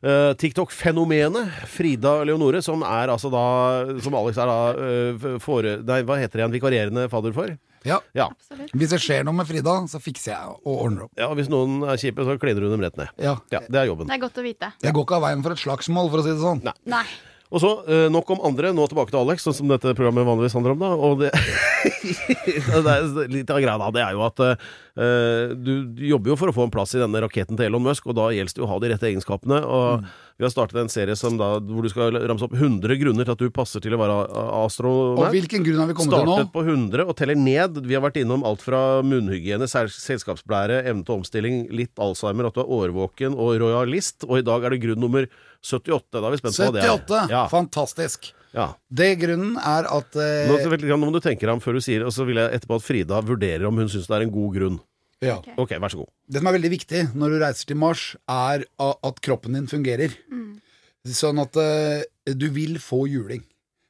Speaker 2: eh, TikTok-fenomenet Frida Leonore, som er altså da Som Alex er da eh, fore... Nei, hva heter det igjen? Vikarierende fadder for?
Speaker 3: Ja.
Speaker 2: Ja.
Speaker 5: Absolutt.
Speaker 3: Hvis det skjer noe med Frida, så fikser jeg og ordner opp.
Speaker 2: ja. Hvis noen er kjipe, så kliner hun dem rett ned.
Speaker 3: Ja.
Speaker 2: Ja, Det er jobben.
Speaker 5: Det er godt å vite.
Speaker 3: Jeg går ikke av veien for et slagsmål, for å si det sånn.
Speaker 5: Nei.
Speaker 2: Og så, eh, Nok om andre, nå tilbake til Alex, sånn som dette programmet vanligvis handler om. da Og det, det er Litt av greia da, det er jo at eh, du, du jobber jo for å få en plass i denne raketten til Elon Musk, og da gjelder det jo å ha de rette egenskapene.
Speaker 3: Mm.
Speaker 2: Og Vi har startet en serie som da, hvor du skal ramse opp 100 grunner til at du passer til å være a-
Speaker 3: Og
Speaker 2: astronaut.
Speaker 3: hvilken grunn har vi kommet til nå?
Speaker 2: Startet på 100 og teller ned. Vi har vært innom alt fra munnhygiene, sel- selskapsblære, evne til omstilling, litt Alzheimer, at du er årvåken og rojalist. Og i dag er det grunn nummer 78. Da er vi spent på hva det er.
Speaker 3: 78!
Speaker 2: Ja,
Speaker 3: Fantastisk.
Speaker 2: ja.
Speaker 3: Det grunnen er at eh,
Speaker 2: Nå, vet du hva, nå må du tenke deg om før du sier det, og så vil jeg etterpå at Frida vurderer om hun syns det er en god grunn.
Speaker 3: ja.
Speaker 2: Ok, vær så god.
Speaker 3: Det som er veldig viktig når du reiser til Mars, er a- at kroppen din fungerer. Sånn at eh, du vil få juling.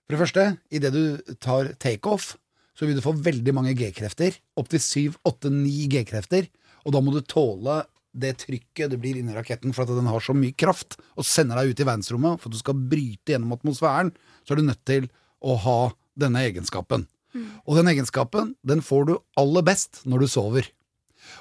Speaker 3: For det første, idet du tar takeoff, så vil du få veldig mange G-krefter. Opptil 7-8-9 G-krefter. Og da må du tåle det trykket det blir inni raketten, for at den har så mye kraft og sender deg ut i verdensrommet. For at du skal bryte gjennom atmosfæren, så er du nødt til å ha denne egenskapen. Og den egenskapen den får du aller best når du sover.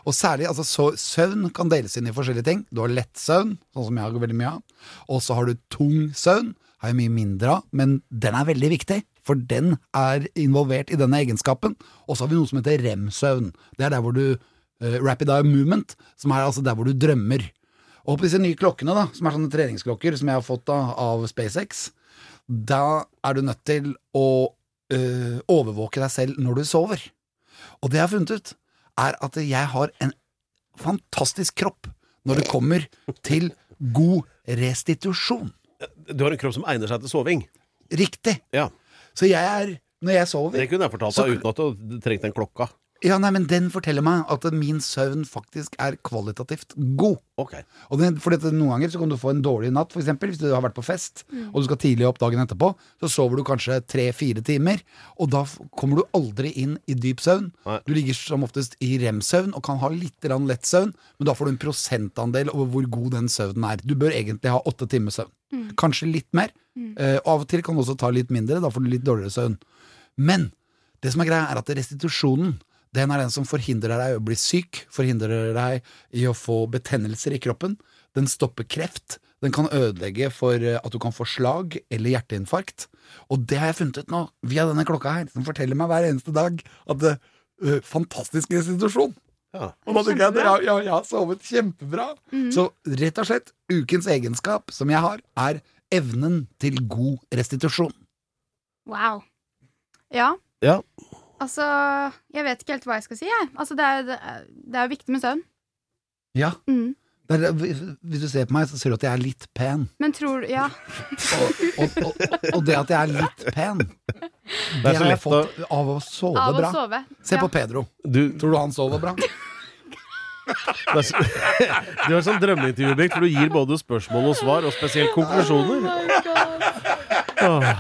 Speaker 3: Og særlig, altså så, søvn kan deles inn i forskjellige ting. Du har lett søvn, sånn som jeg har veldig mye av. Og så har du tung søvn, har jeg mye mindre av, men den er veldig viktig. For den er involvert i denne egenskapen. Og så har vi noe som heter rem-søvn. Det er der hvor du eh, Rapid eye movement, som er altså der hvor du drømmer. Og på disse nye klokkene, da, som er sånne treningsklokker som jeg har fått da, av SpaceX, da er du nødt til å eh, overvåke deg selv når du sover. Og det jeg har funnet ut, er at jeg har en fantastisk kropp når det kommer til god restitusjon.
Speaker 2: Du har en kropp som egner seg til soving.
Speaker 3: Riktig.
Speaker 2: Ja,
Speaker 3: Så jeg er Når jeg sover
Speaker 2: Det kunne jeg fortalt deg uten at du trengte den klokka.
Speaker 3: Ja, nei, men den forteller meg at min søvn faktisk er kvalitativt god.
Speaker 2: Ok.
Speaker 3: Og det, for dette, noen ganger så kan du få en dårlig natt, for eksempel, hvis du har vært på fest, og du skal tidlig opp dagen etterpå, så sover du kanskje tre-fire timer, og da f- kommer du aldri inn i dyp søvn.
Speaker 2: Nei.
Speaker 3: Du ligger som oftest i rem-søvn, og kan ha litt grann lett søvn, men da får du en prosentandel over hvor god den søvnen er. Du bør egentlig ha åtte timer søvn. Kanskje litt mer. Eh, av og til kan du også ta litt mindre, da får du litt dårligere søvn. Men det som er greia, er at restitusjonen den er den som forhindrer deg å bli syk, forhindrer deg i å få betennelser i kroppen. Den stopper kreft. Den kan ødelegge for eh, at du kan få slag eller hjerteinfarkt. Og det har jeg funnet ut nå, via denne klokka her, som forteller meg hver eneste dag at eh, eh, Fantastisk restitusjon!
Speaker 2: Ja.
Speaker 3: Og da tenker jeg at jeg, jeg, jeg har sovet kjempebra.
Speaker 5: Mm.
Speaker 3: Så rett og slett, ukens egenskap som jeg har, er evnen til god restitusjon.
Speaker 5: Wow. Ja.
Speaker 2: Ja.
Speaker 5: Altså, jeg vet ikke helt hva jeg skal si, jeg. Altså, det er, det er- det er jo viktig med søvn.
Speaker 3: Ja.
Speaker 5: Mm.
Speaker 3: Det er- hvis du ser på meg, så ser du at jeg er litt pen.
Speaker 5: Men tror Ja.
Speaker 3: Og, og, og, og det at jeg er litt pen, det,
Speaker 2: Det er så
Speaker 3: har jeg
Speaker 2: lett å
Speaker 3: fått av å sove
Speaker 5: Av å
Speaker 3: bra.
Speaker 5: sove.
Speaker 3: Se
Speaker 5: Ja.
Speaker 3: på Pedro.
Speaker 2: du,
Speaker 3: Tror du han sover bra?
Speaker 2: Det er, så- du er sånn drømmeintervjuobjekt, for du gir både spørsmål og svar, og spesielt konklusjoner. Åh,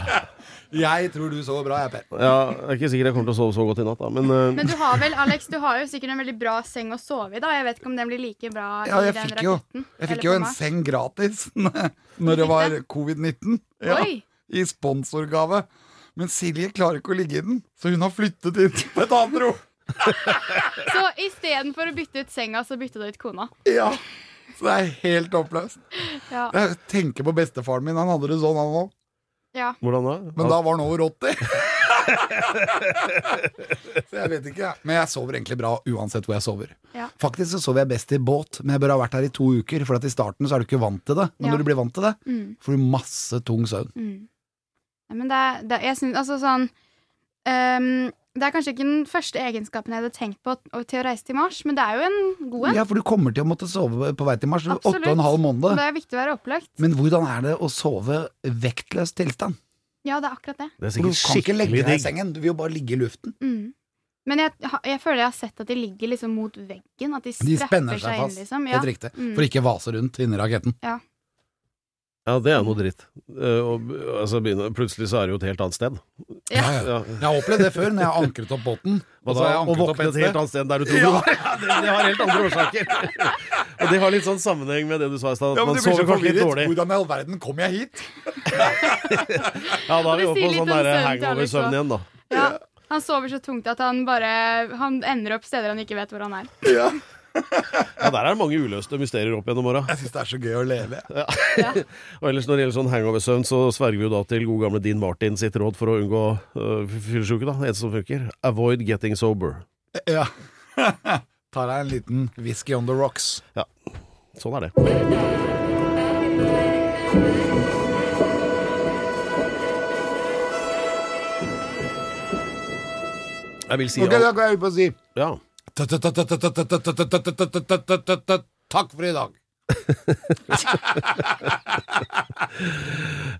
Speaker 3: Jeg tror du sover bra, jeg, Per.
Speaker 2: Ja, jeg er ikke sikker jeg kommer til å sove så godt i natt, da, men eh,
Speaker 5: Men du har vel, Alex, du har jo sikkert en veldig bra seng å sove i, da. Jeg vet ikke om den blir like bra
Speaker 3: Ja,
Speaker 5: i
Speaker 3: jeg
Speaker 5: den
Speaker 3: fikk jo,
Speaker 5: raketten.
Speaker 3: jeg
Speaker 5: eller
Speaker 3: fikk jo
Speaker 5: på
Speaker 3: en
Speaker 5: Mars.
Speaker 3: seng gratis når det var covid-19. Ja,
Speaker 5: Oi.
Speaker 3: I sponsorgave. Men Silje klarer ikke å ligge i den, så hun har flyttet inn på et annet rom.
Speaker 5: Så istedenfor å bytte ut senga, så bytta du ut kona.
Speaker 3: Ja, så det er helt oppløst.
Speaker 5: Ja.
Speaker 3: Jeg tenker på bestefaren min, han hadde det sånn han òg,
Speaker 5: ja.
Speaker 2: hvordan da?
Speaker 3: men da var han over 80. så jeg vet ikke, jeg. Men jeg sover egentlig bra uansett hvor jeg sover.
Speaker 5: Ja.
Speaker 3: Faktisk så sover jeg best i båt, men jeg bør ha vært her i to uker, for at i starten så er du ikke vant til det. Men
Speaker 5: Ja.
Speaker 3: når du blir vant til det,
Speaker 5: Mm.
Speaker 3: får du masse tung søvn.
Speaker 5: Mm. Nei, men det er, det, jeg synes, altså sånn øhm, Det er kanskje ikke den første egenskapen jeg hadde tenkt på t- og til å reise til Mars, men det er jo en god en.
Speaker 3: Ja, for du kommer til å måtte sove på vei til mars.
Speaker 5: Absolutt.
Speaker 3: Åtte og en halv
Speaker 5: Og
Speaker 3: måned.
Speaker 5: Det er viktig å være opplagt.
Speaker 3: Men hvordan er det å sove vektløs tilstand?
Speaker 5: Ja, det er akkurat det.
Speaker 2: Det er
Speaker 3: For du
Speaker 2: sikkert
Speaker 3: kan ikke legge
Speaker 2: skikkelig
Speaker 3: deg i
Speaker 2: digg.
Speaker 3: sengen, du vil jo bare ligge i luften.
Speaker 5: Mm. Men jeg, ha- jeg føler jeg har sett at de ligger liksom mot veggen. At de
Speaker 3: De
Speaker 5: strapper
Speaker 3: spenner
Speaker 5: seg,
Speaker 3: seg fast,
Speaker 5: inn, liksom. Ja.
Speaker 3: helt riktig.
Speaker 5: Mm.
Speaker 3: For ikke vase rundt inni raketten.
Speaker 2: Ja, det er noe dritt. Eh, og, altså, begynner- plutselig så er det jo et helt annet sted.
Speaker 5: Ja.
Speaker 3: Ja, ja.
Speaker 2: Ja.
Speaker 3: Jeg har opplevd det før, når jeg har ankret opp båten.
Speaker 2: Og,
Speaker 3: Og så har jeg
Speaker 2: og
Speaker 3: ankret opp
Speaker 2: våkne
Speaker 3: et
Speaker 2: et helt
Speaker 3: sted.
Speaker 2: annet sted enn der du trodde du var. Det, det har helt andre årsaker. og det har litt sånn sammenheng med det du sa i stad, at man sover kanskje litt dårlig.
Speaker 3: Hvordan i all verden kom jeg hit?
Speaker 2: Ja, da er vi
Speaker 5: Det
Speaker 2: oppe
Speaker 5: sier
Speaker 2: på
Speaker 5: litt om
Speaker 2: sånn der
Speaker 5: søvn til Alex
Speaker 2: hangover-søvn igjen, da.
Speaker 5: Ja. Han sover så tungt at han bare Han ender opp steder han ikke vet hvor han er.
Speaker 2: Ja, der er det mange uløste mysterier opp gjennom åra.
Speaker 3: Jeg syns det er så gøy å leve.
Speaker 2: Og ellers når det gjelder sånn hangover-søvn, så sverger vi jo da til god gamle Dean Martin sitt råd for å unngå øh, fyllesyke, da. En som funker. Avoid getting sober.
Speaker 3: Ja. Tar deg en liten whisky on the rocks.
Speaker 2: Ja, sånn er det. Jeg vil si
Speaker 3: Ok, da kan jeg ut og si
Speaker 2: Ja.
Speaker 3: Takk for i dag.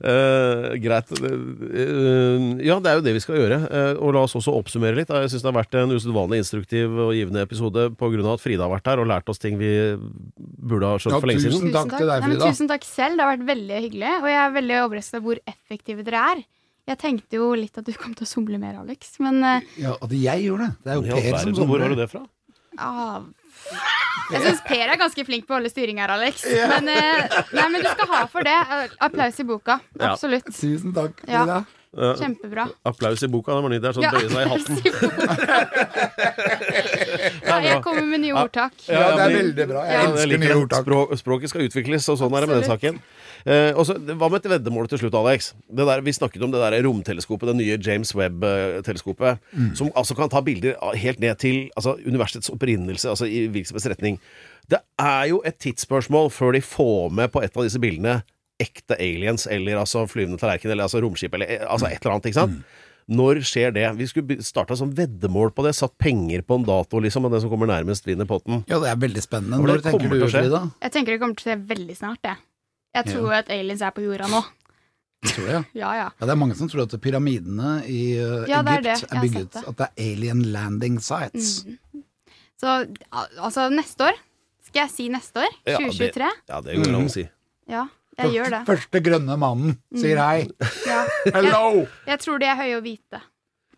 Speaker 2: Eh, greit. Eh, ja, det er jo det vi skal gjøre. Eh, og la oss også oppsummere litt. Jeg syns det har vært en usedvanlig instruktiv og givende episode pga. at Frida har vært her og lært oss ting vi burde ha skjønt
Speaker 3: Ja,
Speaker 2: for lenge
Speaker 3: tusen
Speaker 2: siden.
Speaker 3: Tusen takk til deg,
Speaker 5: Nei, men
Speaker 3: Frida.
Speaker 5: tusen takk selv. Det har vært veldig hyggelig. Og jeg er veldig overrasket over hvor effektive dere er. Jeg tenkte jo litt at du kom til å somle mer, Alex, men eh,
Speaker 3: Ja, at jeg gjorde det. Det er
Speaker 2: I
Speaker 3: jo
Speaker 2: all
Speaker 3: Per som
Speaker 2: verden,
Speaker 3: somler.
Speaker 2: Hvor har du det fra?
Speaker 5: ah, Jeg syns Per er ganske flink på å holde styring her, Alex. Men, eh, nei, men du skal ha for det. Eh, Applaus i boka.
Speaker 2: Ja.
Speaker 5: Absolutt.
Speaker 3: Tusen takk,
Speaker 5: Ja.
Speaker 3: Frida.
Speaker 2: Eh,
Speaker 5: Kjempebra.
Speaker 2: applaus i boka. Det var nytt. Det er sånn
Speaker 5: Ja,
Speaker 2: bøye seg i hatten.
Speaker 5: applaus i boka. Nei, jeg kommer med nye ordtak.
Speaker 3: Ja, det er
Speaker 2: men-
Speaker 3: veldig bra. Jeg
Speaker 5: Ja,
Speaker 2: Ja, jeg
Speaker 3: elsker
Speaker 2: liker
Speaker 3: nye
Speaker 2: det.
Speaker 3: ordtak.
Speaker 2: Språ- språket skal utvikles, og sånn er det med den saken. Eh, og så, det- Hva med et veddemål til slutt, Alex? Det der, vi snakket om det der romteleskopet, det nye James Webb-teleskopet, som altså kan ta bilder av- helt ned til altså, universets opprinnelse, altså i virksomhetens retning. Det er jo et tidsspørsmål før de får med på et av disse bildene ekte aliens, eller altså flyvende tallerken, eller altså romskip, eller eh, altså et eller annet, ikke sant? Når skjer det? Vi skulle starta som veddemål på det, satt penger på en dato, liksom, og den som kommer nærmest, vinner potten.
Speaker 3: Ja, det er veldig spennende.
Speaker 2: Ja, men
Speaker 3: Når
Speaker 2: det
Speaker 3: tenker
Speaker 2: kommer
Speaker 3: du,
Speaker 2: til å skje.
Speaker 3: Frida?
Speaker 5: Jeg tenker det kommer til å skje veldig snart, jeg. Jeg tror at aliens er på jorda nå.
Speaker 3: Tror jeg.
Speaker 5: Ja, ja.
Speaker 3: Ja, det er mange som tror at pyramidene i eh,
Speaker 5: Ja, det
Speaker 3: Egypt
Speaker 5: er det. Jeg
Speaker 3: er
Speaker 5: har
Speaker 3: bygget
Speaker 5: sett det. Mm,
Speaker 3: At det er alien landing sites.
Speaker 5: Så al- altså, neste år Skal jeg si neste år?
Speaker 2: Ja,
Speaker 5: 2023?
Speaker 2: Ja, det går an å si.
Speaker 5: Ja, jeg gjør det. Mm.
Speaker 3: Første grønne mannen sier hei.
Speaker 5: Ja. Jeg,
Speaker 3: Hello!
Speaker 5: jeg tror det er høye og hvite.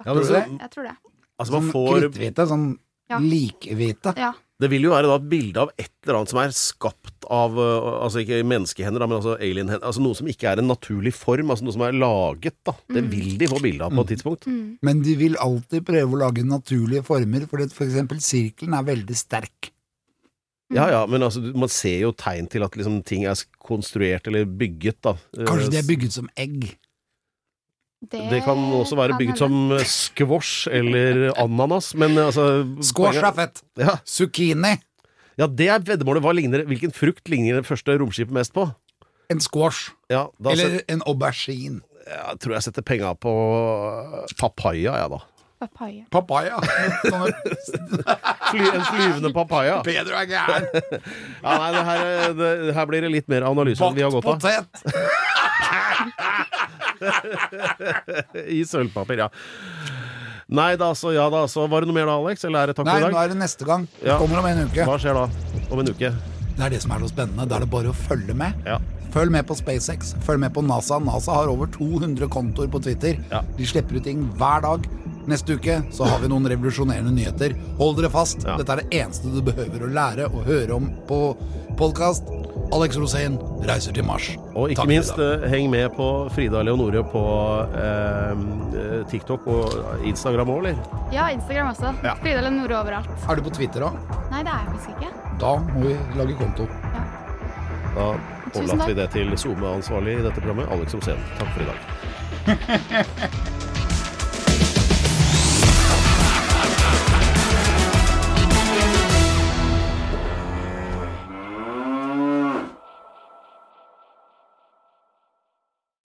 Speaker 2: Ja, men
Speaker 3: Tror du
Speaker 2: så,
Speaker 3: det?
Speaker 5: Jeg tror det.
Speaker 2: altså
Speaker 3: Sånn
Speaker 2: man får,
Speaker 3: kritthvite, sånn
Speaker 5: Ja.
Speaker 3: likhvite.
Speaker 5: Ja.
Speaker 2: det vil jo være da et bilde av et eller annet som er skapt av øh, Altså ikke menneskehender, da, men altså alienhender. Altså noe som ikke er en naturlig form, altså noe som er laget. da
Speaker 3: Mm.
Speaker 2: Det vil de få bilde av på et tidspunkt.
Speaker 5: Mm.
Speaker 3: Men de vil alltid prøve å lage naturlige former, for det- for eksempel sirkelen er veldig sterk.
Speaker 2: Ja ja, men altså du- man ser jo tegn til at liksom ting er s- konstruert eller bygget, da.
Speaker 3: Kanskje de
Speaker 2: Eh,
Speaker 3: er bygget som egg.
Speaker 2: det kan også være
Speaker 5: kan
Speaker 2: bygget
Speaker 5: hende.
Speaker 2: som eh, squash eller ananas, men eh, altså
Speaker 3: Squash er
Speaker 2: poenget-
Speaker 3: fett!
Speaker 2: Ja,
Speaker 3: Zucchini!
Speaker 2: ja, det er veddemålet. Hva ligner, hvilken frukt ligner det første romskipet mest på?
Speaker 3: En squash.
Speaker 2: Ja, da set-
Speaker 3: Eller en aubergine.
Speaker 2: Jeg tror jeg setter penga på øh, papaya, jeg, da.
Speaker 5: Papaya.
Speaker 3: Papaya. Sånne-
Speaker 2: Fly, en flyvende papaya.
Speaker 3: Pedro er gæren.
Speaker 2: Ja, nei, det her, eh, det, her blir det litt mer analyse enn Sånn vi har
Speaker 3: Bakt
Speaker 2: godt av.
Speaker 3: potet.
Speaker 2: I sølvpapir, ja. Nei da, så ja da. Så var det noe mer da, Alex? Eller er det takk
Speaker 3: Nei,
Speaker 2: for i
Speaker 3: nå
Speaker 2: dag?
Speaker 3: er det neste gang. Det
Speaker 2: Ja.
Speaker 3: kommer om en uke.
Speaker 2: Hva skjer da? Om en uke?
Speaker 3: Det er det som er så spennende. Da er det bare å følge med.
Speaker 2: Ja.
Speaker 3: Følg med på SpaceX, følg med på NASA. NASA har over 200 kontoer på Twitter.
Speaker 2: Ja.
Speaker 3: De slipper ut ting hver dag. Neste uke så har vi noen revolusjonerende nyheter. Hold dere fast.
Speaker 2: Ja.
Speaker 3: Dette er det eneste du behøver å lære og høre om på podkast. Alex Rosén reiser til Mars.
Speaker 2: Og ikke
Speaker 3: Takk for i
Speaker 2: minst,
Speaker 3: dag.
Speaker 2: eh, heng med på Frida Leonore på eh, eh, TikTok og Instagram òg, eller?
Speaker 5: Ja, Instagram også.
Speaker 2: Ja.
Speaker 5: Frida Lenore overalt.
Speaker 3: Er du på Twitter òg?
Speaker 5: Nei, det er jeg faktisk ikke.
Speaker 3: Da må vi lage konto.
Speaker 2: Da
Speaker 5: Tusen
Speaker 2: overlater vi
Speaker 5: takk.
Speaker 2: det til SoMe-ansvarlig i dette programmet, Alex Rosén. Takk for i dag.